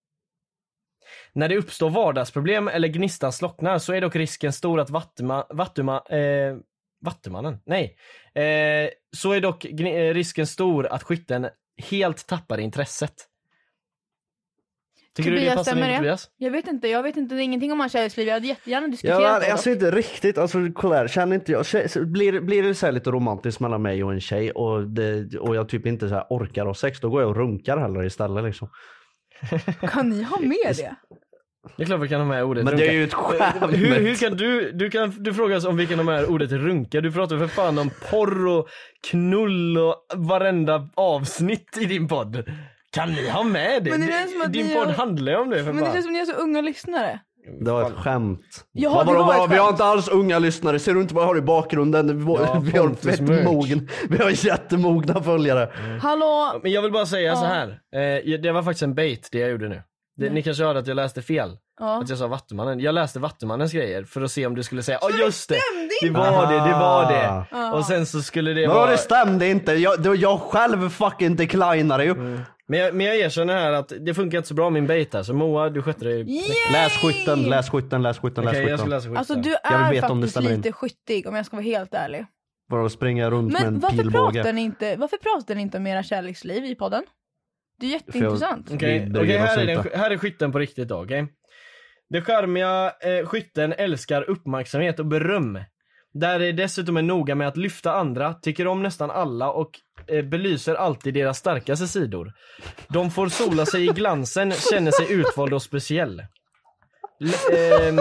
B: När det uppstår vardagsproblem eller gnistan slocknar så är dock risken stor att vattuma, vattuma, eh, vattumannen, nej, eh, så är dock gni- eh, risken stor att skytten helt tappar intresset. Tycker du det
A: Tobias,
B: passar
A: stämmer
B: in
A: det?
B: Tobias?
A: Jag vet inte, jag vet inte, det är ingenting om hans kärleksliv. Jag hade jättegärna diskuterat
C: Ja,
A: det.
C: men alltså inte riktigt. Alltså kolla här, känner inte jag. tjej- så Blir, blir det så här lite romantiskt mellan mig och en tjej och, det, och jag typ inte så här orkar ha sex, då går jag och runkar hellre istället liksom.
A: Kan ni ha med det?
B: Det är klart vi kan ha med ordet
C: Men det
B: runka.
C: är ju ett skämt.
B: Hur, hur kan du, du, kan, du frågas om vilken av de här ordet runka, du pratar för fan om porr och knull och varenda avsnitt i din podd. Kan ni ha med det?
A: Men det känns som att
B: din
A: ni
B: podd
A: har-
B: handlar ju om det för
A: Men det
B: fan.
A: känns som ni är så unga lyssnare.
C: Det var ett skämt.
A: Ja,
C: Vad
A: det
C: vadå,
A: var
C: vad-
A: ett
C: Vi har
A: skämt.
C: inte alls unga lyssnare. Ser du inte vad jag har i bakgrunden? Vi,
B: Ja,
C: vi, har,
B: Pontus
C: fett
B: Mörk.
C: mogen, vi har jättemogna följare.
A: Hallå?
B: Men jag vill bara säga
A: Ja.
B: så här. Eh, det var faktiskt en bait det jag gjorde nu. Det, ni kanske hörde att jag läste fel.
A: Ja.
B: Att jag sa Vattumannen. Jag läste Vattumannens grejer för att se om du skulle säga ja just det. Det
A: inte? Ah.
B: var det, det var det.
A: Ja.
B: Och sen så skulle det
C: Ah. Men
B: vara...
C: det stämde inte. Jag, det var jag själv fucking declinade ju.
B: Mm. Men jag, men jag erkänner här att det funkar inte så bra min bait här så Moa du skötte dig.
A: Yay!
C: Läs skytten, läs skytten, läs skytten,
B: Okej,
C: läs
B: jag ska
C: skytten.
B: läsa skiten.
A: Alltså du
C: Jag
A: är
C: vet om det
A: faktiskt
C: stämmer in.
A: lite skyttig om jag ska vara helt ärlig.
C: Bara springa runt med
A: Men
C: en
A: varför pratar,
C: pilbåge.
A: ni inte, varför pratar ni inte om era kärleksliv i podden? Det är jätteintressant.
B: Okej,
C: Vi bryr
B: okej,
C: oss
B: här, är
C: inte.
B: den- här är skytten på riktigt då, okej? Den charmiga eh, skytten älskar uppmärksamhet och beröm. Där är dessutom är noga med att lyfta andra, tycker om nästan alla och eh, belyser alltid deras starkaste sidor. De får sola sig i glansen, känner sig utvalda och speciell. L- ehm,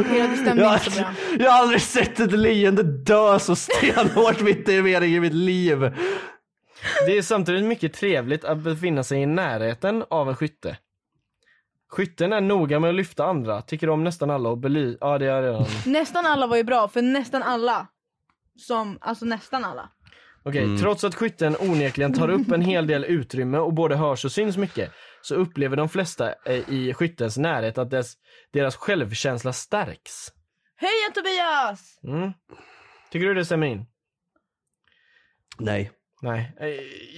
A: Okej, du stämde
C: Jag,
A: inte så bra.
C: jag har aldrig sett ett leende dö så stenhårt mitt i meningen i mitt liv.
B: det är samtidigt mycket trevligt att befinna sig i närheten av en skytte. Skytten är noga med att lyfta andra, tycker om nästan alla och belyser... Ja, det har jag redan...
A: Nästan alla var ju bra, för nästan alla som, alltså nästan alla.
B: Okej, trots att skytten onekligen tar upp en hel del utrymme och både hörs och syns mycket så upplever de flesta eh, i skyttens närhet att dess, deras självkänsla stärks.
A: Heja Tobias!
B: Mm. Tycker du det stämmer in?
C: Nej.
B: Nej. Eh,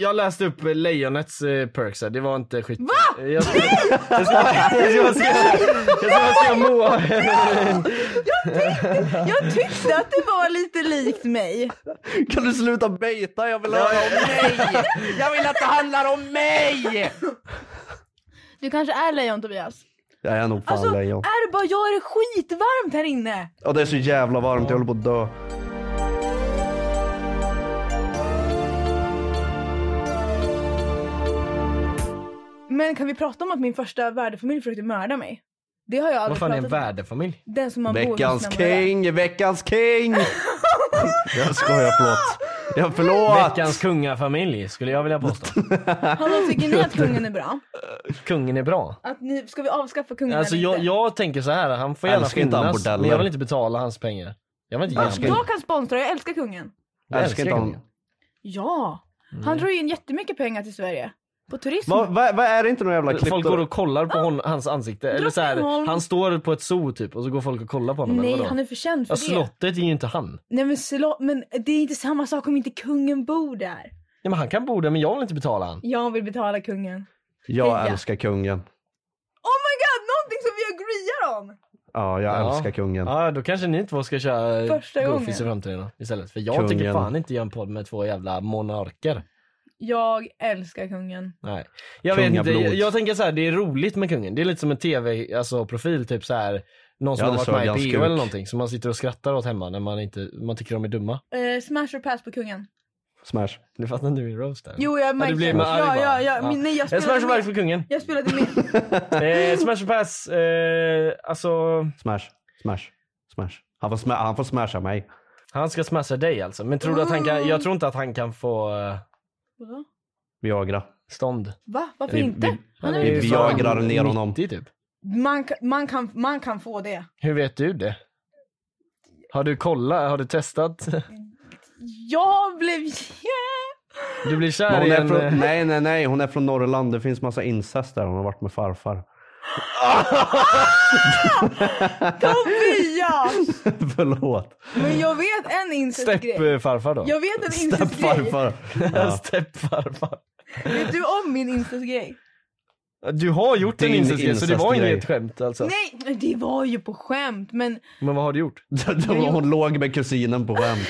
B: Jag läste upp eh, lejonets eh, perks här, det var inte skit. Va? Jag ska, jag ska, jag ska, bara skriva- jag ska, bara skriva Moa.
A: Jag tyckte att det var lite likt mig.
C: Kan du sluta beta? Jag vill höra om mig! Jag vill att det handlar om mig!
A: Du kanske är lejon Tobias?
C: Jag är nog fan
A: Alltså,
C: lejon.
A: är det bara jag är det skitvarmt här inne?
C: Ja, det är så jävla varmt, jag håller på att dö.
A: Men kan vi prata om att min första värdefamilj försökte mörda mig? Det har jag aldrig
B: Vad fan är en
A: pratat om.
B: värdefamilj?
A: Den som man bor hos
C: Veckans
A: när man är där.
C: king, veckans king! jag skojar, förlåt. Jag förlåt!
B: Veckans kungafamilj skulle jag vilja påstå.
A: Hallå, tycker ni att kungen är bra?
B: Kungen är bra.
A: Att ni, ska vi avskaffa kungen
B: Alltså
A: eller
B: jag,
A: inte?
B: jag tänker så här, han får gärna
C: Älskar inte han
B: finnas men
C: bordeller?
B: jag vill inte betala hans pengar. Jag vill inte ge
C: Jag
B: honom
C: ska-
B: pengar.
A: jag kan sponsra, jag älskar kungen.
B: Jag
C: älskar inte honom.
A: Ja,
B: Mm.
A: han drar ju in jättemycket pengar till Sverige. På turism.
C: Vad va, va är det inte någon jävla klipp?
B: Folk går och kollar
A: Ah.
B: på hon, hans ansikte. Eller så här,
A: Drottningholm.
B: han står på ett zoo typ och så går folk och kollar på honom. eller
A: Nej,
B: vadå?
A: han är för känd för
B: ja,
A: det.
B: slottet är ju inte han.
A: Nej men slott, men det är inte samma sak om inte kungen bor där.
B: Ja, men han kan bo där men jag vill inte betala han.
A: Jag vill betala kungen.
C: Jag
A: Ja.
C: älskar kungen.
A: Oh my god, någonting som vi agreear om!
C: Ja, jag
B: Ja.
C: älskar kungen.
B: Ja, då kanske ni två ska köra
A: Första
B: Goofies i
A: gången.
B: framtiden då, istället. För jag
C: Kungen.
B: tycker fan inte göra en podd med två jävla monarker.
A: Jag älskar kungen.
B: Nej. Jag vet inte,
C: Kungablod.
B: jag, jag tänker så här, det är roligt med kungen. Det är lite som en tv-profil, alltså, profil, typ så här. Någon som
C: Ja,
B: har
C: det
B: varit
C: såg
B: med
C: jag
B: i PO
C: en
B: eller
C: skurk.
B: någonting som man sitter och skrattar åt hemma när man, inte, man tycker de är dumma.
A: Eh, smash or pass på kungen?
C: Smash.
B: Nu fattar inte min roast där.
A: Jo, jag
B: ja,
A: märkte
B: det blir
A: det.
B: med arg
A: ja,
B: bara.
A: ja, ja, men Nej, jag
B: Eh, Smash
A: spelade
B: and pass för
A: med.
B: kungen.
A: Jag spelade med.
B: Eh, smash and pass, eh, alltså
C: Smash, smash, smash. Han får, sma- han får smasha mig.
B: han ska smasha dig alltså. Men tror du att han kan, jag tror inte att han kan få eh,
A: Vadå?
C: Viagra.
B: stånd.
A: Va? Varför
C: Vi-
A: inte?
C: vi-
A: Han är
C: vi-
A: ju
C: vi
A: för fan-
C: jagrar ner honom.
B: 90 typ.
A: man, kan- man, kan, man kan få det.
B: Hur vet du det? Har du kollat? Har du testat?
A: Jag blev... Yeah.
B: Du blir
C: Men
B: kär
C: Hon
B: i
C: är
B: en...
C: från,
B: eh,
C: nej, nej, nej. Hon är från Norrland. Det finns massa incest där. Hon har varit med farfar.
A: Tobias!
C: Förlåt.
A: Men jag vet en incestgrej.
B: Steppfarfar då?
A: Jag vet en incestgrej.
C: Farfar. Ja.
B: Steppfarfar.
A: Vet du om min incestgrej?
B: Du har gjort
C: Det är
B: en
C: en
B: incestgrej så det var
C: incestgrej.
B: inget skämt alltså.
A: Nej, det var ju på skämt men
B: Men vad har du gjort?
C: Hon låg med kusinen på skämt.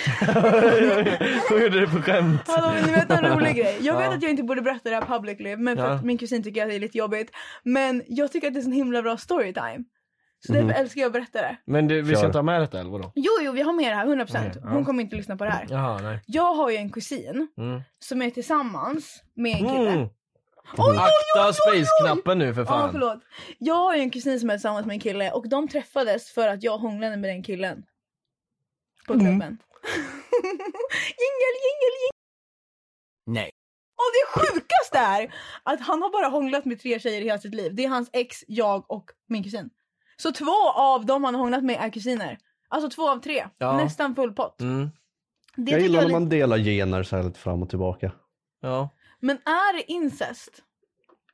B: Hon gjorde det på skämt.
A: hallå, ni vet en rolig grej. Jag vet
B: Ja.
A: att jag inte borde berätta det här publicly men för
B: Ja.
A: att min kusin tycker att det är lite jobbigt. Men jag tycker att det är en sån himla bra storytime. Så
B: Mhm.
A: därför älskar jag att berätta det.
B: Men du, vi ska
C: Kör.
B: inte ha med detta eller vadå?
A: Jo, jo, vi har med det här 100%. Hon kommer inte lyssna på det här.
B: Jaha, nej.
A: Jag har ju en kusin
B: Mm.
A: som är tillsammans med en kille.
B: Mm.
A: Oj,
B: Akta space-knappen nu för
A: Ja,
B: fan.
A: förlåt. Jag har ju en kusin som är tillsammans med en kille och de träffades för att jag hånglade med den killen. På
B: Mm.
A: klubben. jingel, jingel, jingel.
B: Nej.
A: Och det sjukaste är att han har bara hånglat med tre tjejer i hela sitt liv. Det är hans ex, jag och min kusin. Så två av dem han har hånglat med är kusiner. Alltså två av tre.
B: Ja.
A: Nästan full pott.
B: Mm.
A: Det
C: Jag
A: tycker
C: gillar
A: jag är lite...
C: när man delar gener så här lite fram och tillbaka.
B: Ja.
A: Men är det incest?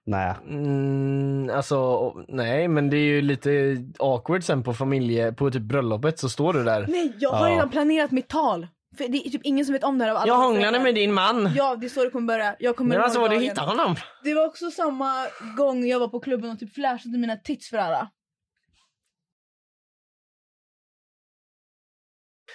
C: Nej.
B: Mm, alltså och- nej men det är ju lite awkward sen på familje, på typ bröllopet så står du där.
A: Nej, jag har
B: Ja.
A: redan planerat mitt tal. För det är typ ingen som vet om det här av alla
B: Jag
A: mina
B: hånglade
A: föräldrar.
B: med din man.
A: Ja, det är så det kommer börja. Jag kommer
B: Det var så
A: ihåg
B: du
A: dagen.
B: hittade honom.
A: Det var också samma gång jag var på klubben och typ flashade mina tits för alla.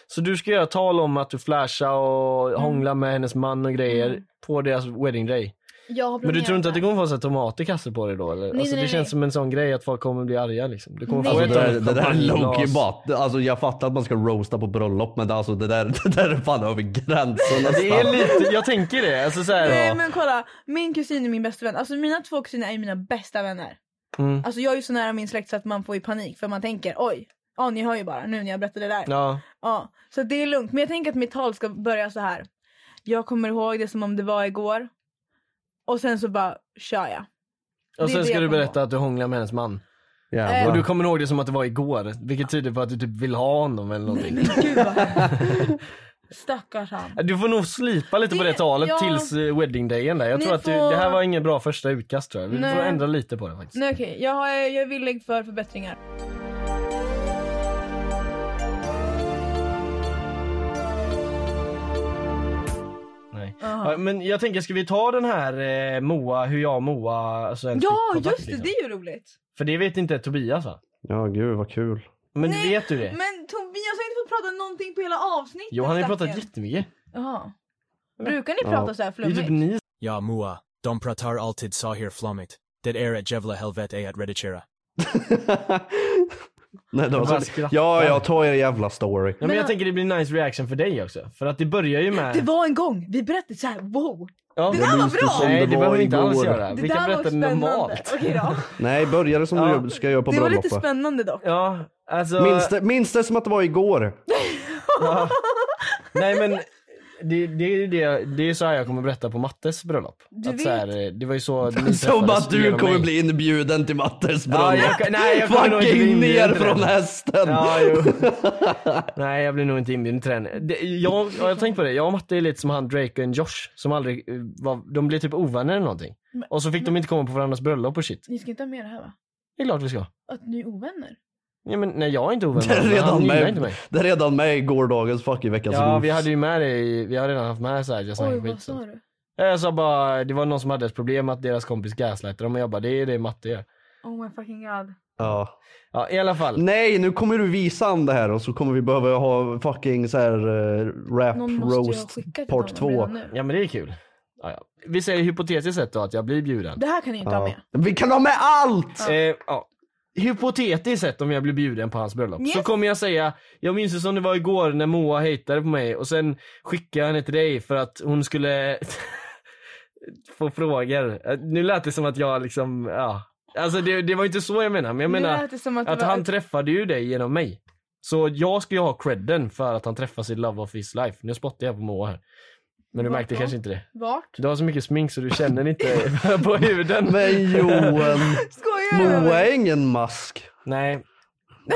B: Så du ska
A: Mm.
B: göra tal om att du flashar och hånglar med hennes man och grejer på deras wedding day.
A: Jag har
B: Men du tror inte att det
A: planerat
B: kommer vara så här tomater kastar på dig då eller?
A: nej,
B: alltså, det
A: nej,
B: känns
A: nej.
B: som en sån grej att folk kommer bli arga liksom. Du kommer
A: Nej.
B: få
C: Alltså,
B: ett
C: det, där,
B: sånt
C: det där är Loki
B: champagneglas.
C: bara. Alltså jag fattar att man ska roasta på bröllop men alltså det där, det där är fan över gränsen
B: Det är
C: nästan.
B: lite, jag tänker det. Alltså så här,
A: Nej men kolla, min kusin är min bästa vän. Alltså mina två kusiner är ju mina bästa vänner.
B: Mm.
A: Alltså jag är ju så nära min släkt så att man får ju panik för man tänker oj, ja ni hör ju bara nu när jag berättar det där.
B: Ja.
A: Ja, så det är lugnt. Men jag tänker att mitt tal ska börja så här. Jag kommer ihåg det som om det var igår. Och sen så bara kör jag.
B: Och
A: Det är
B: sen
A: det
B: ska
A: jag
B: du
A: kommer
B: berätta att du hånglar med hennes man.
C: Jävlar.
A: Eh,
B: Och du kommer ihåg det som att det var igår. Vilket tyder på att du typ vill ha honom eller någonting.
A: Gud vad hemskt. Stackars han.
B: Du får nog slipa lite på det
A: Det-
B: talet
A: ja.
B: tills eh, weddingdagen där. Jag
A: Ni
B: tror att du,
A: får-
B: det här var ingen bra första utkast tror jag. Vi får
A: Nej.
B: ändra lite på det faktiskt.
A: Nej okej, jag, har- jag är villig för förbättringar.
B: Nej.
A: Aha.
B: Ja, men jag tänker, ska vi ta den här eh, Moa, hur jag och Moa... Alltså en
A: Ja
B: kontakt,
A: just det,
B: liksom?
A: det är ju roligt.
B: För det vet inte Tobias va?
C: Ja gud vad kul.
B: Men
A: Nej,
B: vet du det?
A: Men Tobias har inte fått prata någonting på hela avsnittet
B: Jo han har ju pratat
A: stackarn.
B: jättemycket.
A: Jaha. Brukar ni
C: Ja.
A: prata så här
B: Det är ju
A: flummigt?
B: typ ni
E: Ja mua, dom pratar altid sahir flomit, det är ett jävla helvete at redigera.
C: Nej, det var
B: bara
C: så...
B: skrattar.
C: Ja jag tar er jävla story.
B: Ja, men
A: Men
B: jag
A: han-
B: tänker det blir nice reaction för dig också. För att det börjar ju med...
A: Det var en gång vi berättade så här, wow!
B: ja.
A: Det där var bra!
C: som-
B: Nej
C: det
B: det behöver
C: var
B: vi inte alls
C: igår.
B: göra.
A: Det
B: Vi kan
A: där var
B: berätta
A: spännande.
B: normalt.
A: Okej då.
C: Nej börja det som
B: Ja.
C: du ska göra på
A: Det var lite
C: bröllopet.
A: spännande dock.
B: Ja, alltså...
C: Minns det, minns det som att det var igår.
B: Ja. Nej men det, det är ju det, det är så här jag kommer berätta på Mattes bröllop.
A: Du
B: att så här, eh, det var ju så ni
C: Som
B: träffades
C: att du
B: genom
C: kommer
B: mig.
C: bli inbjuden till Mattes
B: Ja,
C: bröllop.
B: jag, nej jag kommer nog inte bli
C: Fucking
B: inbjuden
C: ner
B: till
C: från
B: den.
C: hästen.
B: Ja, jo. Nej jag blir nog inte inbjuden till den. Det, jag, jag har tänkt på det, jag och Matte är lite som han Drake och Josh som aldrig eh, var, de blev typ ovänner eller någonting.
A: Men-
B: och så fick de inte komma på varandras bröllop och shit.
A: Ni ska inte ha med det här va?
B: Det är klart vi ska.
A: Att ni är ovänner?
B: Ja, men, nej jag är inte ovän
C: Det
B: med
C: är
B: honom, han
C: redan
B: gillar inte
C: med,
B: mig.
C: det är redan med i gårdagens fucking veckans
B: Ja
C: Roofs.
B: vi hade ju med det i, vi har redan haft med såhär
C: Alltså,
B: jag snackar
A: Oj
B: skit.
A: vad
B: Eh, så.
A: sa du?
B: Jag sa bara, det var någon som hade ett problem att deras kompis gaslightade dem och jag bara det är det matte gör.
A: Oh my fucking god.
C: Ja.
B: Ja i alla fall.
C: Nej, nu kommer du visa han det här och så kommer vi behöva ha fucking så här eh, rap
A: Någon måste ju ha
C: roast
A: skickat till
C: part
A: honom
C: två.
A: redan nu.
B: Ja men det är kul. Ja, ja. Vi säger hypotetiskt sett då att jag blir bjuden.
A: Det här kan ni inte ha
C: Ja.
A: med.
C: Vi kan ha med allt!
B: Eh, ja. Hypotetiskt sett om jag blir bjuden på hans bröllop så
A: Yes.
B: kommer jag säga, jag minns det som det var igår när Moa hejtade på mig och sen skickade jag henne till dig för att hon skulle få frågor. Eh, Nu lät det som att jag liksom, ja. Alltså det, det var inte så jag menar men jag menar
A: nu lät det som att,
B: Att
A: det var...
B: han träffade ju dig genom mig. Så jag ska ju ha credden för att han träffade sitt love of his life. Nu spottar jag på Moa här. Men du
A: Varför?
B: märkte kanske inte det.
A: Vart?
B: Du har så mycket smink så du känner inte på huden.
C: Men Johan,
A: Skojar du med
C: Moa
A: mig?
C: är ingen mask.
B: Nej. ja,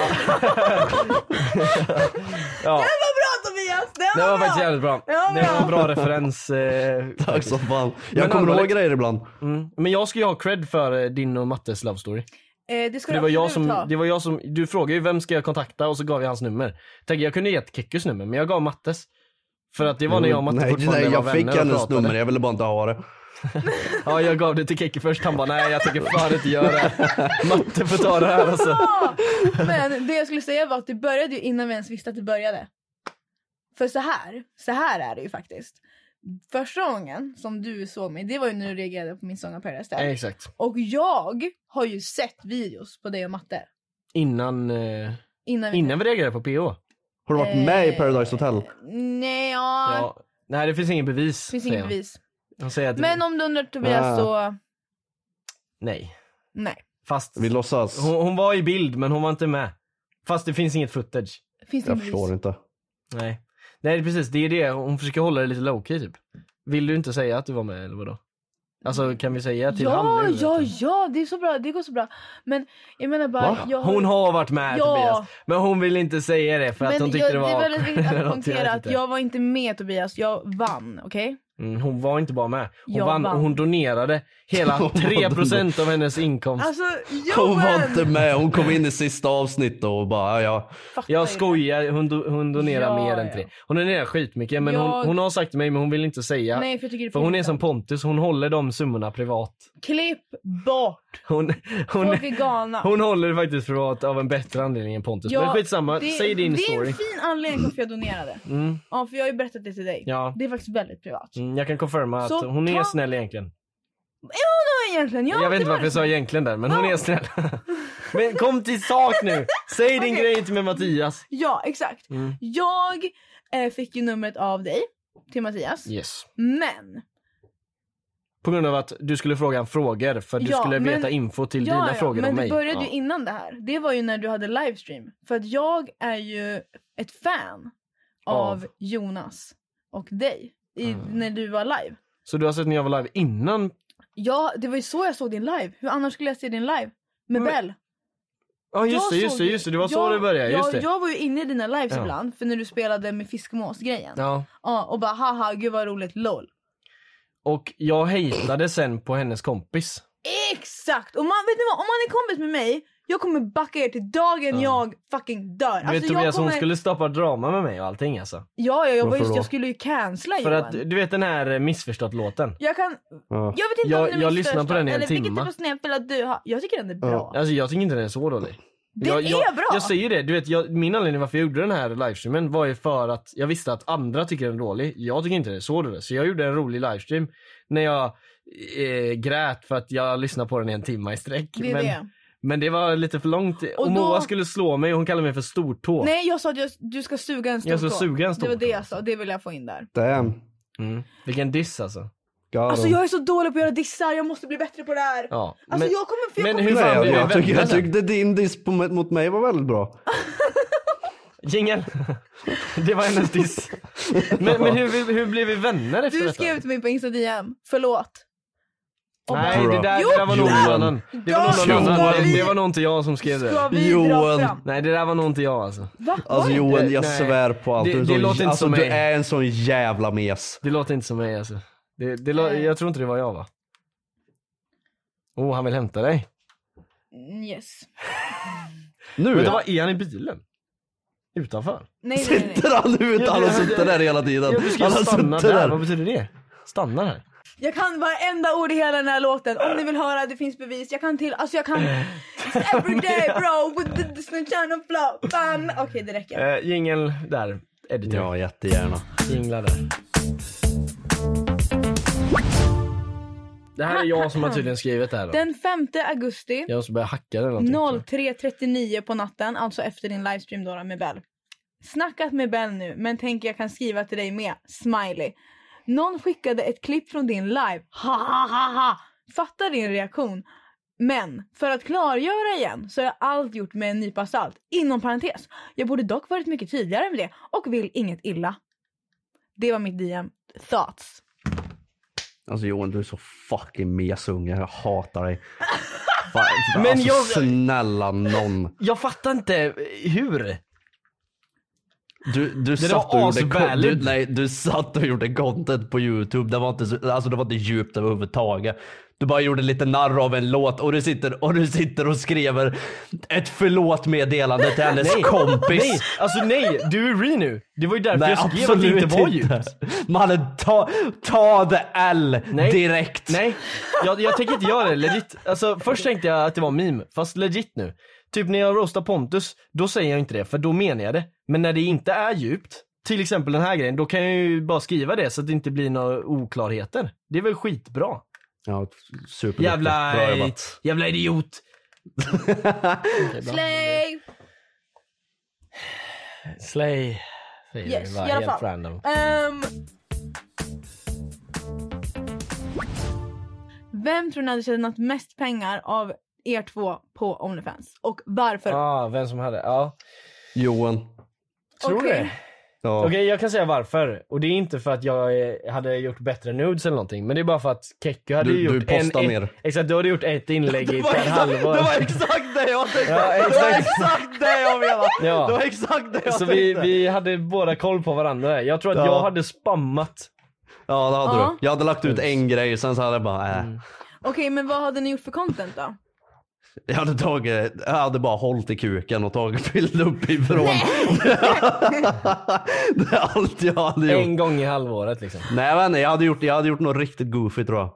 A: Vad bra Tobias! Det
B: det var
A: var
B: faktiskt
A: bra!
B: jävligt bra.
A: Det var
B: Det var en
A: bra!
B: bra referens. Eh,
C: Tack
B: faktiskt.
C: som fan.
B: Men
C: Jag kommer ihåg
B: allvarligt.
C: grejer ibland.
B: mm. Men jag ska ju ha cred för eh, din och Mattes love story.
A: Eh, det ska
B: För det
A: du
B: var jag
A: absolut
B: som,
A: ha.
B: det var jag som, du frågade ju vem ska jag kontakta och så gav jag hans nummer. Tänk jag kunde gett Kekkus nummer men jag gav Mattes. För att det var när jag och Matte
C: nej,
B: fortfarande
C: nej,
B: var
C: jag
B: vänner
C: fick
B: och
C: hennes
B: pratade.
C: nummer, jag ville bara inte ha det.
B: Ja jag gav det till Keke först, han bara nej jag tänker fan inte göra det. Matte får ta det här alltså.
A: Ja! Men det jag skulle säga var att det började ju innan vi ens visste att det började. För så här, så här är det ju faktiskt. Första gången som du såg mig, det var ju när du reagerade på min Song of Paradise
B: Nej,
A: där.
B: exakt.
A: Och jag har ju sett videos på dig och Matte.
B: Innan, eh,
A: Innan vi...
B: innan vi reagerade på PO.
C: Har du varit med i
A: Eh,
C: Paradise Hotel?
A: Nej, ja.
B: Ja. Nej det finns ingen bevis.
A: Det finns
B: säger
A: inget
B: han.
A: bevis.
B: Han säger att
A: Men om du undrar Tobias
C: Ah.
A: så,
B: nej.
A: nej.
B: Fast
C: Vi låtsas.
B: hon, hon var i bild men hon var inte med. Fast det finns inget footage.
A: Finns det
C: Jag
A: inget bevis?
C: förstår inte.
B: Nej. Nej precis, det är det. Hon försöker hålla det lite low key typ. Vill du inte säga att du var med eller vadå? Alltså kan vi säga till han
A: Ja,
B: nu?
A: ja, ja, det är så bra, det går så bra. Men jag menar bara,
C: Va?
A: jag
B: Hon har varit med
A: Ja.
B: Tobias. Men hon vill inte säga det för att hon tyckte
A: jag,
B: det var
A: är väldigt viktigt att
B: eller något, jag
A: poängtera
B: vet
A: att
B: inte.
A: jag var inte med Tobias, jag vann. Okej?
B: Mm, hon var inte bara med. Hon,
A: Jag
B: vann, och
A: vann.
B: hon donerade hela
C: Hon
B: 3% av hennes inkomst.
A: Alltså
C: Hon var
A: Johan!
C: inte med, hon kom in i sista avsnittet och bara ja.
A: Fattar
B: jag
A: ju.
B: skojar, hon, do, hon donerar
A: Ja,
B: mer än
A: ja.
B: 3. Hon donerar skitmycket men
A: Jag-
B: hon, hon har sagt till mig men hon vill inte säga.
A: Nej för jag tycker det är
B: för hon är
A: pinsamt.
B: som Pontus, hon håller de summorna privat.
A: Klipp bort!
B: Hon, hon,
A: Folk är galna.
B: hon håller det faktiskt privat av en bättre anledning än Pontus.
A: Ja,
B: men skitsamma,
A: det,
B: säg din
A: det
B: story.
A: är en fin anledning till varför jag donerade.
B: Mm,
A: Ja för jag har ju berättat det till dig.
B: ja.
A: Det är faktiskt väldigt privat.
B: Mm, jag kan confirma att
A: Så
B: hon är
A: ta-
B: snäll egentligen.
A: Vadå egentligen?
B: Jag vet inte varför jag sa egentligen där, men hon är snäll. Men kom till sak nu! Säg din
A: Okej.
B: grej till med Mattias.
A: Ja, exakt.
B: Mm.
A: Jag eh, fick ju numret av dig till Mattias.
B: Yes.
A: Men
B: På grund av att du skulle fråga en frågor för du
A: Ja,
B: skulle
A: men-
B: veta info till dina frågor
A: men
B: om mig.
A: det började ju
B: Ja.
A: innan det här. Det var ju när du hade livestream. För att jag är ju ett fan av,
B: Av? Mm.
A: Jonas och dig i, när du var live.
B: Så du har sett när jag var live innan?
A: Ja, det var ju så jag såg din live. Hur annars skulle jag se din live? Med
B: Men-
A: Bell.
B: Ja
A: Jag
B: just det, just
A: såg
B: det,
A: ju-
B: just det. Det var så
A: jag-
B: det började. Just
A: jag,
B: det.
A: jag var ju inne i dina lives
B: Ja.
A: ibland, för när du spelade med fiskmås-grejen. Ja.
B: Ja.
A: och bara haha, gud vad roligt, LOL.
B: Och jag hejtade sen på hennes kompis.
A: Exakt! Och man, vet ni vad, om man är kompis med mig, jag kommer backa er till dagen jag fucking dör. Alltså,
B: Du vet
A: jag
B: Tobias hon
A: kommer-
B: skulle stoppa drama med mig och allting alltså.
A: Ja, ja, jag, var
C: Varför
A: just,
C: då?
A: jag skulle ju cancella
B: För
A: Johan.
B: att du vet den här eh, missförstått låten.
A: Jag kan...
C: Ja.
A: Jag vet inte
B: Jag-
A: om den är
B: jag
A: min
B: lyssnar på
A: största,
B: den i en
A: eller Vilken
B: timma.
A: typ av snedspelare du har. Jag tycker den är bra.
B: Alltså jag tycker inte den är så dålig.
A: Den
B: jag, jag,
A: är bra!
B: Jag säger det, du vet jag, min anledning varför jag gjorde den här livestreamen var ju för att jag visste att andra tycker den är dålig. Jag tycker inte den är så dålig. Så jag gjorde en rolig livestream när jag eh, grät för att jag lyssnade på den i en timme i sträck.
A: det är
B: men,
A: det.
B: men det var lite för långt. Och,
A: Och då-
B: Moa skulle slå mig och hon kallade mig för stortå.
A: Nej, jag sa att jag, du ska suga en stor
B: Jag ska
A: tå.
B: suga en stor
A: Det var det
B: tå.
A: jag sa, det vill jag få in där.
C: Damn.
B: Mm. Vilken diss alltså.
C: Got
A: Alltså
C: him.
A: jag är så dålig på att göra dissar, jag måste bli bättre på det här.
B: Ja.
A: Alltså
B: men,
A: jag kommer... För jag
B: men
A: kommer
B: hur fan
C: Nej, alltså, jag,
B: vill du
C: jag, tycker,
B: vända
C: jag
B: sen?
C: tyckte din diss på, mot mig var väldigt bra.
B: Jingel! Det var hennes diss. Men, men hur, hur blev vi vänner efter
A: du
B: detta?
A: skrev till mig på Insta DM, förlåt.
B: Nej det där,
A: Jo,
B: det där var nog någon
C: Johan.
B: annan. Det var nog
C: Johan.
B: någon annan.
A: Ska vi-
B: Det var nog inte jag som skrev
A: Ska
B: det.
A: vi
C: Johan.
A: dra fram?
B: Nej det där var nog inte jag alltså.
A: Va?
C: Alltså
A: Oj.
C: Johan, jag
B: Nej.
C: svär på allt.
B: Det-
C: du, är
B: det
C: en sån-
B: låter inte
C: alltså,
B: som
C: du
B: mig.
C: är en sån jävla mes.
B: Det låter inte som mig alltså. Det, det, lå-
A: Nej.
B: jag tror inte det var jag va? Oh han vill hämta dig.
A: Mm, Yes.
C: Nu
B: Men det var, är han i bilen? Utanför?
A: Nej, nej, nej.
C: sitter han ute, han har suttit där hela tiden.
B: Ja, du skrev
C: Han har
B: stanna
C: suttit
B: där. vad
C: där.
B: betyder det? Stanna här?
A: Jag kan varenda ord i hela den här låten. Om ni vill höra, det finns bevis. Jag kan till, alltså jag kan... It's everyday bro, with the sunshine and flow. Bam. Okej, det räcker.
B: Eh, jingel där. Editor.
C: Ja, jättegärna.
B: Jinglar där. Det här är jag som har tydligen skrivit det här då.
A: Den 5 augusti
B: Jag måste börja hacka den någonting.
A: 03.39 på natten, alltså efter din livestream då med Bell. Snackat med Bell nu, men tänker jag kan skriva till dig med. Smiley. Någon skickade ett klipp från din live. Ha ha ha ha! Fattar din reaktion. Men för att klargöra igen så har jag allt gjort med en nypa salt. Inom parentes. Jag borde dock varit mycket tydligare med det och vill inget illa. Det var mitt DM. Thoughts.
C: Alltså Johan, du är så fucking mesunge. Jag hatar dig. Fan,
B: Men
C: alltså,
B: jag-
C: snälla någon.
B: Jag fattar inte hur.
C: Du, du, satt och
B: var
C: gjorde, kon- du,
B: asvalid.
C: nej, du satt och gjorde content på Youtube. Det var inte, så- alltså, det var inte djupt överhuvudtaget. Du bara gjorde lite narr av en låt och du sitter och, du sitter och skriver ett förlåt-meddelande till hennes kompis.
B: Nej, alltså nej, du är re nu. Det var ju därför
C: Nej,
B: jag skrev att det inte var djupt.
C: Mannen, ta, ta the L
B: Nej.
C: direkt.
B: Nej, jag, jag tänker inte göra det. Legit. Alltså, först tänkte jag att det var meme, fast legit nu. Typ när jag roastar Pontus, då säger jag inte det, för då menar jag det. Men när det inte är djupt, till exempel den här grejen, då kan jag ju bara skriva det så att det inte blir några oklarheter. Det är väl skitbra.
C: Ja, superduktig.
B: Jävla,
C: Bra jobbat.
B: jävla idiot.
A: Slay!
B: Slay. Säger vi
A: Yes,
B: bara,
A: i alla
B: helt
A: fall.
B: random.
A: Ehm. Vem tror ni hade tjänat mest pengar av er två på Onlyfans? Och varför?
B: Ah, vem som hade, ja.
C: Johan.
B: Tror du
A: Okej.
B: det?
C: Ja.
B: Okej jag kan säga varför. Och det är inte för att jag eh, hade gjort bättre nudes eller någonting. Men det är bara för att Kekko hade
C: Du-
B: ju
C: du
B: gjort
C: postar
B: en, e-
C: mer.
B: Exakt, du hade gjort ett inlägg i per halvår.
C: det var exakt det jag tänkte!
B: Ja,
C: Det var
B: exakt.
C: exakt det jag menade!
B: Ja.
C: Det var exakt det jag
B: Så vi,
C: tänkte!
B: vi hade båda koll på varandra. Jag tror att
C: Ja.
B: jag hade spammat.
C: Ja det hade
A: Ja.
C: du. Jag hade lagt ut en grej, sen så hade jag bara äh.
B: Mm.
A: Okej, men vad hade ni gjort för content då?
C: Jag hade tagit, jag hade bara hållit i kuken och tagit bild uppifrån. det är allt jag hade gjort.
B: En gång i halvåret liksom.
C: Nej jag vet inte, jag hade gjort, jag hade gjort något riktigt goofy tror jag.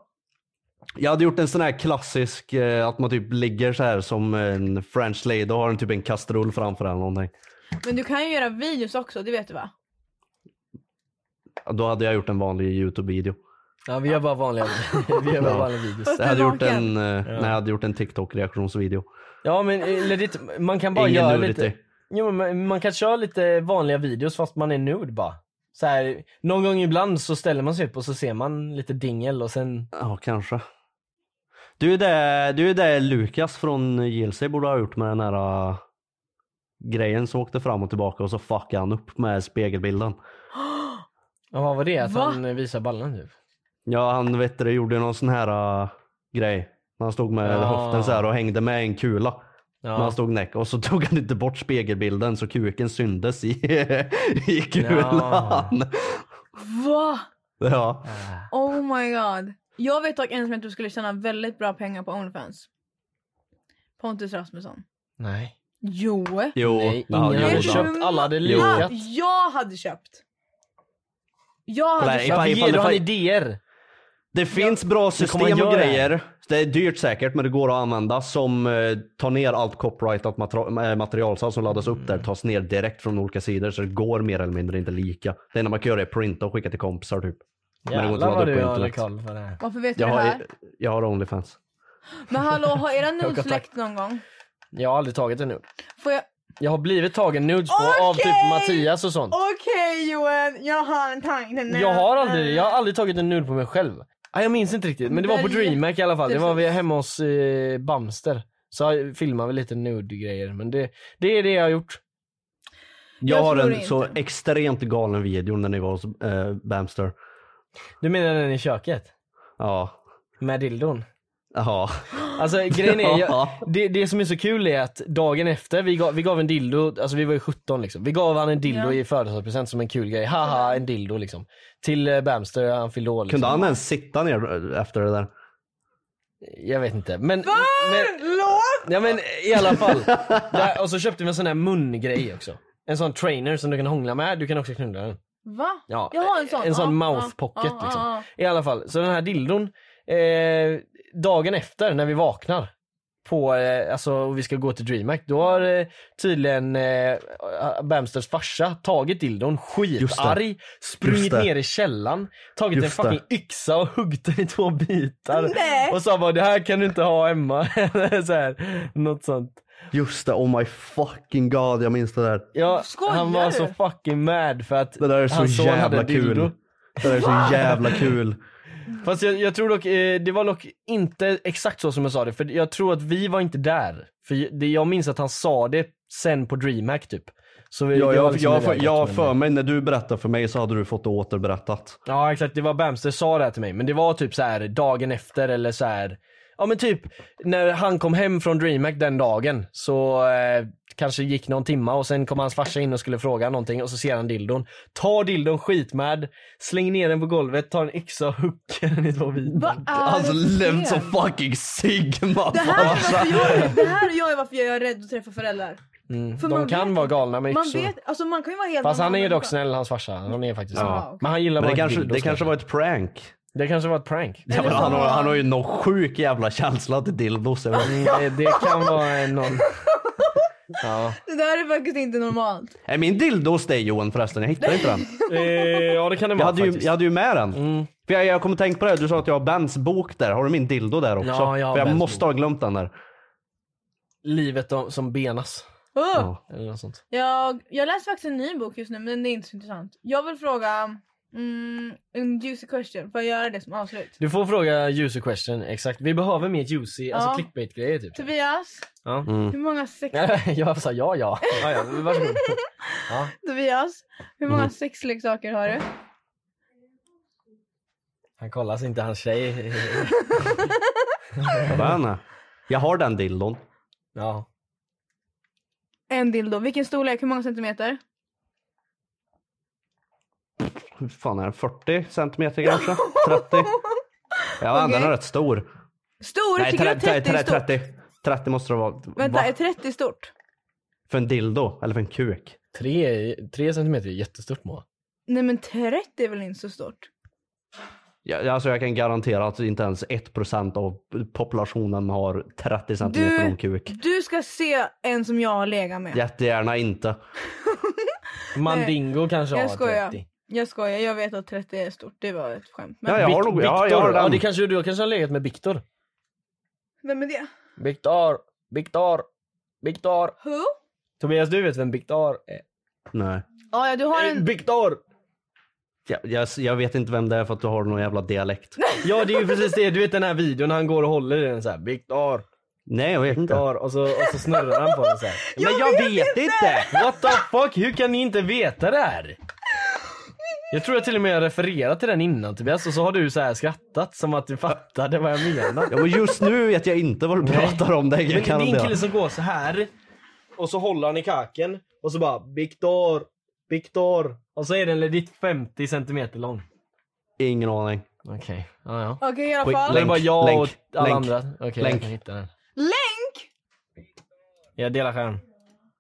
C: Jag hade gjort en sån här klassisk, eh, att man typ ligger så här som en french lady och har en typ en kastrull framför en eller någonting.
A: Men du kan ju göra videos också, det vet du va?
C: Då hade jag gjort en vanlig youtube-video.
B: Ja vi gör bara vanliga, vi gör bara vanliga videos.
C: Jag hade gjort
A: naken.
C: en, eh, nej, jag hade gjort en TikTok-reaktionsvideo.
B: Ja men eh, legit, man kan bara
C: Ingen
B: göra
C: nudity.
B: lite, jo, men man kan köra lite vanliga videos fast man är nude bara. Så här, någon gång ibland så ställer man sig upp och så ser man lite dingel och sen,
C: Ja, kanske. Du är det, du är det Lukas från JLC borde ha gjort med den här äh, grejen som åkte fram och tillbaka och så fuckade han upp med spegelbilden.
B: ja, vad var det? Att
A: Va?
B: han eh, visar ballen typ?
C: Ja, han vet du, gjorde någon sån här äh, grej. När han stod med
B: Ja.
C: höften så här och hängde med en kula.
B: Ja.
C: När han stod näck och så tog han inte bort spegelbilden så kuken syndes i, i kulan.
A: Va?
C: Ja.
B: Ah,
A: Oh my god. Jag vet dock en som jag tror skulle tjäna väldigt bra pengar på Onlyfans. Pontus Rasmusson.
B: Nej.
A: Jo.
C: Jo,
B: Nej,
C: men han
B: ingen
A: gjorde
B: hade
A: det.
C: gjorde
B: köpt,
C: det.
B: alla hade
C: Jo.
A: Ja,
B: likat.
A: jag hade köpt. Jag hade
C: Nej,
A: köpt.
C: ifall-
B: Varför
C: ifall-
B: ger du han
C: ifall-
B: idéer?
C: Det finns bra
B: kommer man
C: system och
B: göra det.
C: grejer. Det är dyrt säkert men det går att använda som eh, tar ner allt copyrightat matera- eh, material så allt som laddas upp där
B: Mm.
C: tas ner direkt från olika sidor så det går mer eller mindre inte lika. Det enda man kan göra är printa och skicka till kompisar typ. Men det går inte
B: Jävlar
C: att ladda
B: vad
C: upp
B: du
C: på
B: har
C: internet.
B: koll på det här.
A: Varför vet du
C: Jag
A: det
C: har,
A: här?
C: jag har Onlyfans.
A: Men hallå, har era
B: har
A: nudes
B: kontakt.
A: läckt någon gång?
B: Jag har aldrig tagit en nude.
A: Får jag...
B: Jag har blivit tagen nudes på av
A: Okej!
B: typ Mattias och sånt.
A: Okej Johan, jag har en tanke. nu.
B: Jag har aldrig jag har aldrig tagit en nude på mig själv. Nej, jag minns inte riktigt men det var på
A: Välj-
B: DreamHack i alla fall. Det var vi
A: Precis.
B: hemma hos eh, Bamster. Så filmade vi lite nude-grejer men det, det är det jag har gjort.
C: Jag,
A: Jag
C: har
A: tror
C: en
A: inte.
C: så extremt galen video när ni var hos eh, Bamster.
B: Du menar den i köket?
C: Ja.
B: Med dildon?
C: Ja.
B: Alltså grejen är, jag,
C: Ja.
B: det, det som är så kul är att dagen efter, vi gav, vi gav en dildo, alltså vi var ju 17 liksom. Vi gav han en dildo
A: Ja.
B: i födelsedagspresent som en kul grej. Haha en dildo liksom. Till eh, Bamster, han fyllde år liksom.
C: Kunde han ens sitta ner efter det där?
B: Jag vet inte. Men, men,
A: Förlåt!
B: Ja men i alla fall. Där, och så köpte vi en sån här mungrej också. En sån trainer som du kan hångla med, du kan också knulla den.
A: Va?
B: Ja,
A: Jag har en sån.
B: En sån
A: Ja,
B: mouth
A: ja,
B: pocket
A: ja, ja,
B: liksom.
A: ja.
B: I alla fall, så den här dildon, eh, dagen efter när vi vaknar på, eh, alltså och vi ska gå till DreamHack, då har eh, tydligen eh, Bamsters farsa tagit dildon, skitarg, sprungit
C: Just det.
B: ner i källan, tagit
C: Just
B: en
C: det.
B: fucking yxa och huggit den i två bitar.
A: Nej.
B: Och sa bara det här kan du inte ha hemma. så här, något sånt.
C: Just det, oh my fucking god jag minns det där.
B: Ja,
A: Skojar
B: han var
A: du?
B: så fucking mad för att
C: Det där är så
B: hans son hade
C: jävla
B: en
C: kul.
B: dildo.
C: Det där är så jävla kul.
B: Fast jag, jag tror dock, eh, det var dock inte exakt så som jag sa det, för jag tror att vi var inte där. För j- det, jag minns att han sa det sen på DreamHack typ. Så vi, det
C: Jag,
B: var
C: jag,
B: liksom
C: jag,
B: det där
C: jag, jag
B: med-
C: för mig, när du berättade för mig så hade du fått det återberättat.
B: Ja exakt, det var Bamster sa det här till mig, men det var typ så här dagen efter eller så här. Ja men typ när han kom hem från DreamHack den dagen så eh, kanske gick någon timma och sen kom hans farsa in och skulle fråga någonting och så ser han dildon. Tar dildon skitmad, slänger ner den på golvet, tar en yxa och hugger den i två bitar.
A: Vad är
C: Alltså
A: det för
C: Lemson
A: fel?
C: fucking Sigma
A: Det här, är
B: Alltså.
C: farsa.
A: varför jag, det här gör ju varför jag är rädd att träffa föräldrar.
B: Mm.
A: För
B: De
A: man
B: kan
A: vet-
B: vara galna med
A: Man
B: yxor.
A: vet, alltså man kan ju vara helt
B: Fast han är ju
A: annorlunda.
B: dock snäll hans farsa, han är faktiskt
A: Ja,
B: snäll.
A: okej.
B: Men han gillar
C: Men det
B: bara
C: kanske,
B: dildos,
C: det kanske var ett prank.
B: det kanske var ett prank.
C: Ja, men
A: så
C: han, har,
A: var han-
C: han har ju någon sjuk jävla känsla till dildos. jag vet.
B: Det, det kan vara eh, någon... Ja.
A: Det där är faktiskt inte normalt.
C: Är min dildos det Johan förresten? Jag hittar inte den.
B: Eh, ja det kan det
C: Jag
B: vara
C: hade ju,
B: faktiskt. Mm.
C: jag hade ju med den. För jag, jag kom att tänka på det, du sa att jag har Bens bok där. Har du min dildo där också?
B: Ja, jag har
C: För jag
B: Bens
C: måste
B: bok.
C: ha glömt den där.
B: Livet om- som benas.
A: Oh!
C: Ja.
B: Eller något sånt.
A: Jag, jag läser faktiskt en ny bok just nu men det är inte så intressant. Jag vill fråga mm, en juicy question. Får jag göra det som avslut?
B: Du får fråga juicy question, exakt. Vi behöver mer juicy,
A: Ja.
B: alltså clickbait grejer typ.
A: Tobias,
B: Ja.
C: Mm.
A: hur många sex...
B: jag sa ja ja. ja, ja. Varsågod. Ja.
A: Tobias, hur många
B: Mm.
A: sexleksaker har du?
B: Han kollar så inte hans tjej.
C: Jag bara, nej. Jag har den dildon.
B: Ja.
A: En dildo. Vilken storlek? Hur många centimeter?
C: Hur fan är den? 40 centimeter kanske? 30? Jag använder den
A: Okej.
C: rätt stor.
A: Stor?
C: Nej,
A: tycker du
C: 30,
A: 30 är
C: 30,
A: stort?
C: 30, 30 måste det vara.
A: Vänta,
C: Va?
A: är 30 stort?
C: För en dildo? Eller för en kuk?
B: Tre, är- tre centimeter är jättestort Moa.
A: Nej men 30 är väl inte så stort?
C: Jag, alltså jag kan garantera att inte ens 1% av populationen har 30 centimeter
A: Du,
C: lång kuk.
A: du ska se en som jag har legat med.
C: Jättegärna inte.
B: Mandingo kanske
A: Jag
B: har
A: skojar.
B: 30.
A: Jag skojar, jag vet att 30 är stort. Det var ett skämt. Men
C: Ja, jag har
B: Vic-
C: nog, ja, jag
B: Victor.
C: har
B: ja,
C: den.
B: det kanske du kanske har legat med Viktor.
A: vem är det?
B: Viktor, Viktor, Viktor.
A: Who?
B: Tobias, du vet vem Viktor är?
C: Nej.
A: Ja, ja, du har
B: Eh,
A: en...
B: Viktor!
C: Jag, jag, jag vet inte vem det är för att du har någon jävla dialekt.
B: Ja, det är ju precis det. Du vet den här videon när han går och håller i den så här. Viktor,
C: Nej, jag vet inte.
B: Viktor. Och så, och så snurrar han på den så här.
C: Men jag vet inte!
B: What the fuck? Hur kan ni inte veta det här? Jag tror jag till och med har refererat till den innan Tobias och så har du så här skrattat som att du fattade vad jag menar.
C: Ja, men just nu vet jag inte vad du pratar om. Det
B: Men
C: jag
B: det
C: kan
B: är en
C: det.
B: kille som går så här och så håller han i kaken och så bara Viktor, Viktor. Och så är den legit 50 centimeter lång.
C: Ingen aning.
B: Okej, ja ja.
A: Okej, i alla
C: Skit-
B: Då
A: fall.
B: är det bara jag
C: Länk,
B: och alla
C: länk,
B: andra. Okej, jag
C: länk.
B: kan hitta den.
A: Länk!
B: Jag delar skärm.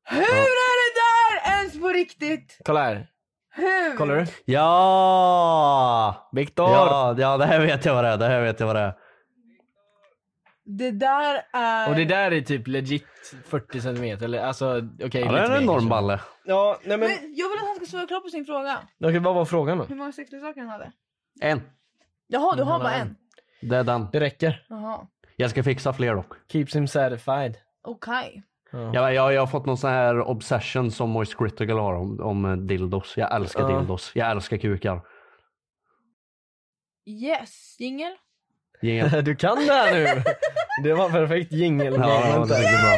A: Hur är det där ens på riktigt?
B: Kolla här.
A: Hur?
B: Kollar du?
C: Ja!
B: Viktor!
C: Ja, ja, det här vet jag vad det är. Det här vet jag vad det är.
A: Det där är...
B: Och det där är typ legit 40 centimeter. Eller alltså okej. lite
C: Ja, det är
B: mer
C: en enorm
B: kanske.
C: balle.
B: Ja, nej men.
A: Men jag vill att han ska svara klart på sin fråga.
B: Okej, vad var frågan då?
A: Hur många sexleksaker han hade?
C: En.
A: Jaha, du har
B: Han
A: bara
B: hade en.
A: en?
C: Det är den.
B: Det räcker.
A: Jaha.
C: Jag ska fixa fler dock.
B: Keeps him satisfied.
A: Okej.
C: Jag, jag, jag har fått någon sån här obsession som Moist Critical har om, om dildos. Jag älskar
B: Ja.
C: dildos. Jag älskar kukar.
A: Yes. Jingel?
C: Jingel.
B: Du kan det här nu! Det var perfekt jingel.
C: Ja, ja, det är bra.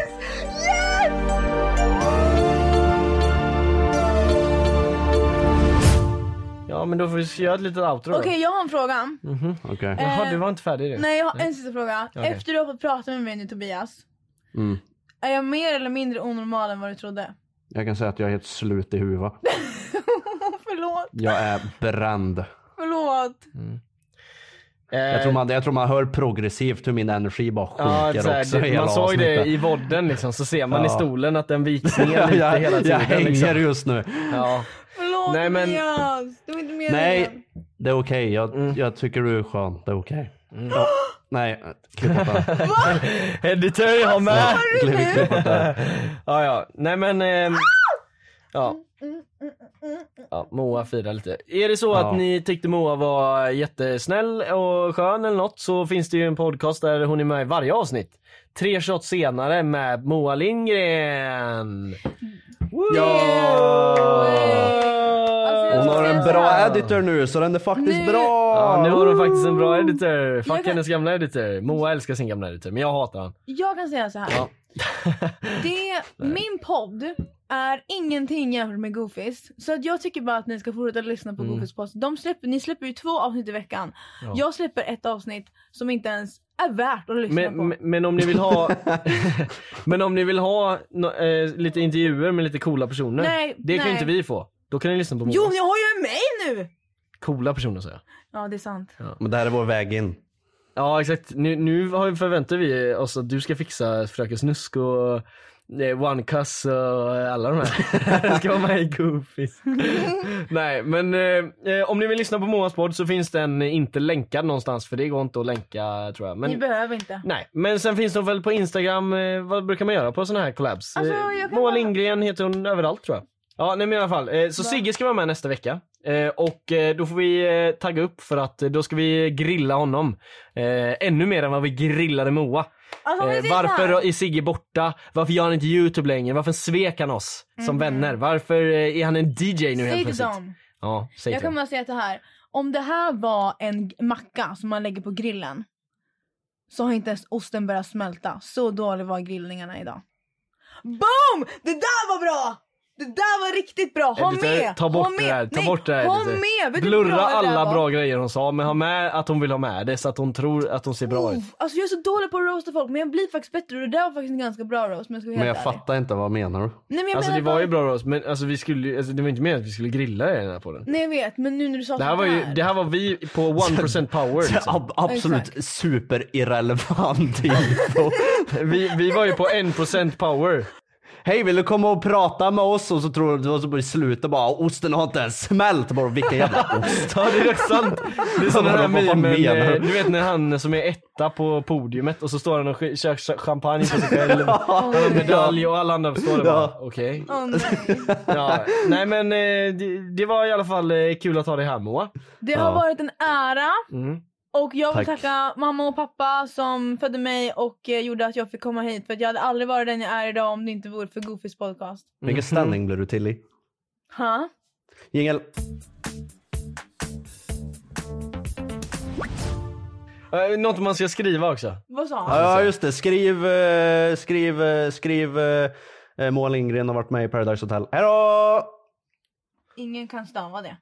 B: Ja men då får vi göra ett litet outro
A: Okej,
B: då.
A: jag har en fråga.
C: Okej.
B: Jaha
A: Eh,
B: du var inte färdig du?
A: Nej, jag har en sista fråga.
B: Okej.
A: Efter du har fått prata med mig nu Tobias.
B: Eh.
C: Mm.
A: Är jag mer eller mindre onormal än vad du trodde?
C: Jag kan säga att jag är helt slut i huvudet.
A: förlåt,
C: Jag är bränd.
A: förlåt.
B: Eh,
C: Jag tror, man, jag tror man hör progressivt hur min energi bara
B: ja,
C: sjunker
B: så här,
C: också
B: det-
C: hela
B: Man såg det
C: avsnittet.
B: i vodden liksom, så ser man
C: Ja.
B: i stolen att den viks ner lite
C: jag,
B: hela tiden.
C: jag hänger
B: liksom.
C: just nu.
B: ja.
A: Förlåt
B: Nej, men-
A: Tobias. Du är inte mer än
C: Nej,
A: jag.
C: det är okej. Jag, jag tycker du är skön. Det är okej. Ja, nej, klipp bort det. här.
B: Editor har med!
C: Klipp, klipp bort det. här.
B: Ja ja, nej men. ehm, ja. ja. Moa firar lite. Är det så
C: Ja.
B: att ni tyckte Moa var jättesnäll och skön eller något så finns det ju en podcast där hon är med i varje avsnitt. Tre shots senare med Moa Lindgren.
A: Alltså,
C: Hon
A: jag
C: har
A: ska
C: en
A: säga
C: bra
A: så här.
C: editor nu så den är faktiskt
A: Nu-
C: bra!
B: Ja, nu har hon faktiskt en bra editor. Fuck
A: Jag kan-
B: hennes gamla editor. Moa älskar sin gamla editor men jag hatar han.
A: Jag kan säga så här.
B: Ja.
A: Det, min podd är ingenting jämfört med Goofies. Så att jag tycker bara att ni ska fortsätta lyssna på
B: Mm.
A: Goofies podd. De släpper, ni släpper ju två avsnitt i veckan.
B: Ja.
A: Jag släpper ett avsnitt som inte ens är värt att lyssna på.
B: Men, men- men om ni vill ha, men om ni vill ha nå- eh, lite intervjuer med lite coola personer.
A: Nej,
B: det kan
A: nej.
B: ju inte vi få. Då kan ni lyssna på
A: Jo,
B: Moa.
A: men jag har ju mig nu!
B: Coola personer säger jag.
A: Ja, det är sant.
C: Men det här är vår väg in.
B: Ja exakt. Nu, nu har- förväntar vi oss att du ska fixa Fröken Snusk och eh, One Cuss och eh, alla de här. ska vara med i Goofies. Nej men eh, eh, om ni vill lyssna på Moas podd så finns den inte länkad någonstans för det går inte att länka tror jag.
A: Ni
B: Men,
A: behöver inte.
B: Nej, men sen finns de väl på Instagram. eh, Vad brukar man göra på såna här collabs?
A: Alltså,
B: Eh,
A: jag kan
B: Moa
A: bara-
B: Lindgren heter hon överallt tror jag. Ja, nej men i alla fall. eh, Så
A: Va?
B: Sigge ska vara med nästa vecka. Eh, Och eh, då får vi eh, tagga upp för att eh, då ska vi grilla honom. Eh, Ännu mer än vad vi grillade Moa.
A: Alltså, om
B: Eh,
A: ni säger så
B: Varför
A: här,
B: är Sigge borta? Varför gör han inte Youtube längre? Varför svek han oss som vänner? Varför eh, är han en DJ nu helt
A: Mhm. Säg till
B: plötsligt?
A: dem.
B: Ja, säg
A: Jag
B: till
A: kan
B: dem.
A: bara säga så här. Om det här var en g- macka som man lägger på grillen så har inte ens osten börjat smälta. Så dålig var grillningarna idag. Boom! Det där var bra! Det där var riktigt bra. Ha
B: Editor,
A: med!
B: Eh, Ta bort
A: ha med.
B: det här. Ta
A: Nej,
B: bort det här.
A: Ha
B: editor.
A: med! Vet du hur
B: Blurra
A: bra det där
B: alla
A: var?
B: bra grejer hon sa men ha med att hon vill ha med det så att hon tror att hon ser bra ut.
A: Uff, Alltså jag är så dålig på att roasta folk men jag blir faktiskt bättre och det där var faktiskt en ganska bra roast men jag ska vara
C: Men
A: helt
C: jag
A: ärlig.
C: fattar inte, vad menar du?
A: Nej, men jag
B: Alltså det
A: menar
B: var
A: bara-
B: ju bra roast men alltså, vi skulle, ju- alltså, det var inte meningen att vi skulle grilla er i den här podden.
A: Nej jag vet men nu när du sa
B: Det här,
A: sånt
B: var ju, det här var vi på 1% power liksom.
C: Ab- absolut
A: Exakt.
C: superirrelevant info.
B: vi, vi var ju på 1% power.
C: hej vill du komma och prata med oss? Och så tror de, och så i slutet bara, osten har inte ens smält. Bara, vilken jävla ost.
B: Ja det är rätt sant. Det är som den här
C: Vad
B: memen,
C: fan menar du?
B: eh, du vet när han som är etta på podiumet och så står han och sk- kör ch- champagne på sig själv. Han har medalj och alla andra står där bara
C: Ja.
B: okej.
A: Åh, nej.
B: Ja. Nej men eh, det, det var i alla fall eh, kul att ha dig här Moa.
A: Det har
C: Ja.
A: varit en ära.
B: Mm.
A: Och jag vill
C: Tack.
A: tacka mamma och pappa som födde mig och eh, gjorde att jag fick komma hit. För att jag hade aldrig varit den jag är idag om det inte vore för Goofys podcast.
C: Vilken ställning blev du till i?
A: Ha?
C: Jingel.
B: Eh, Något man ska skriva också.
A: Vad sa han?
C: Ja just det, skriv, eh, skriv, eh, skriv eh, eh, Moa Lindgren har varit med i Paradise Hotel. Hejdå!
A: Ingen kan stava det.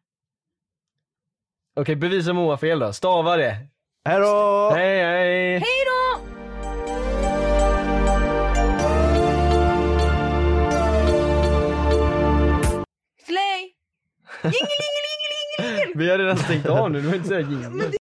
B: Okej bevisa Moa fel då. Stava det.
C: Hejdå!
B: Hej hej.
A: Hej då! Slay! Jingeling!
B: Vi har redan stängt av nu, du behöver inte säga jingel.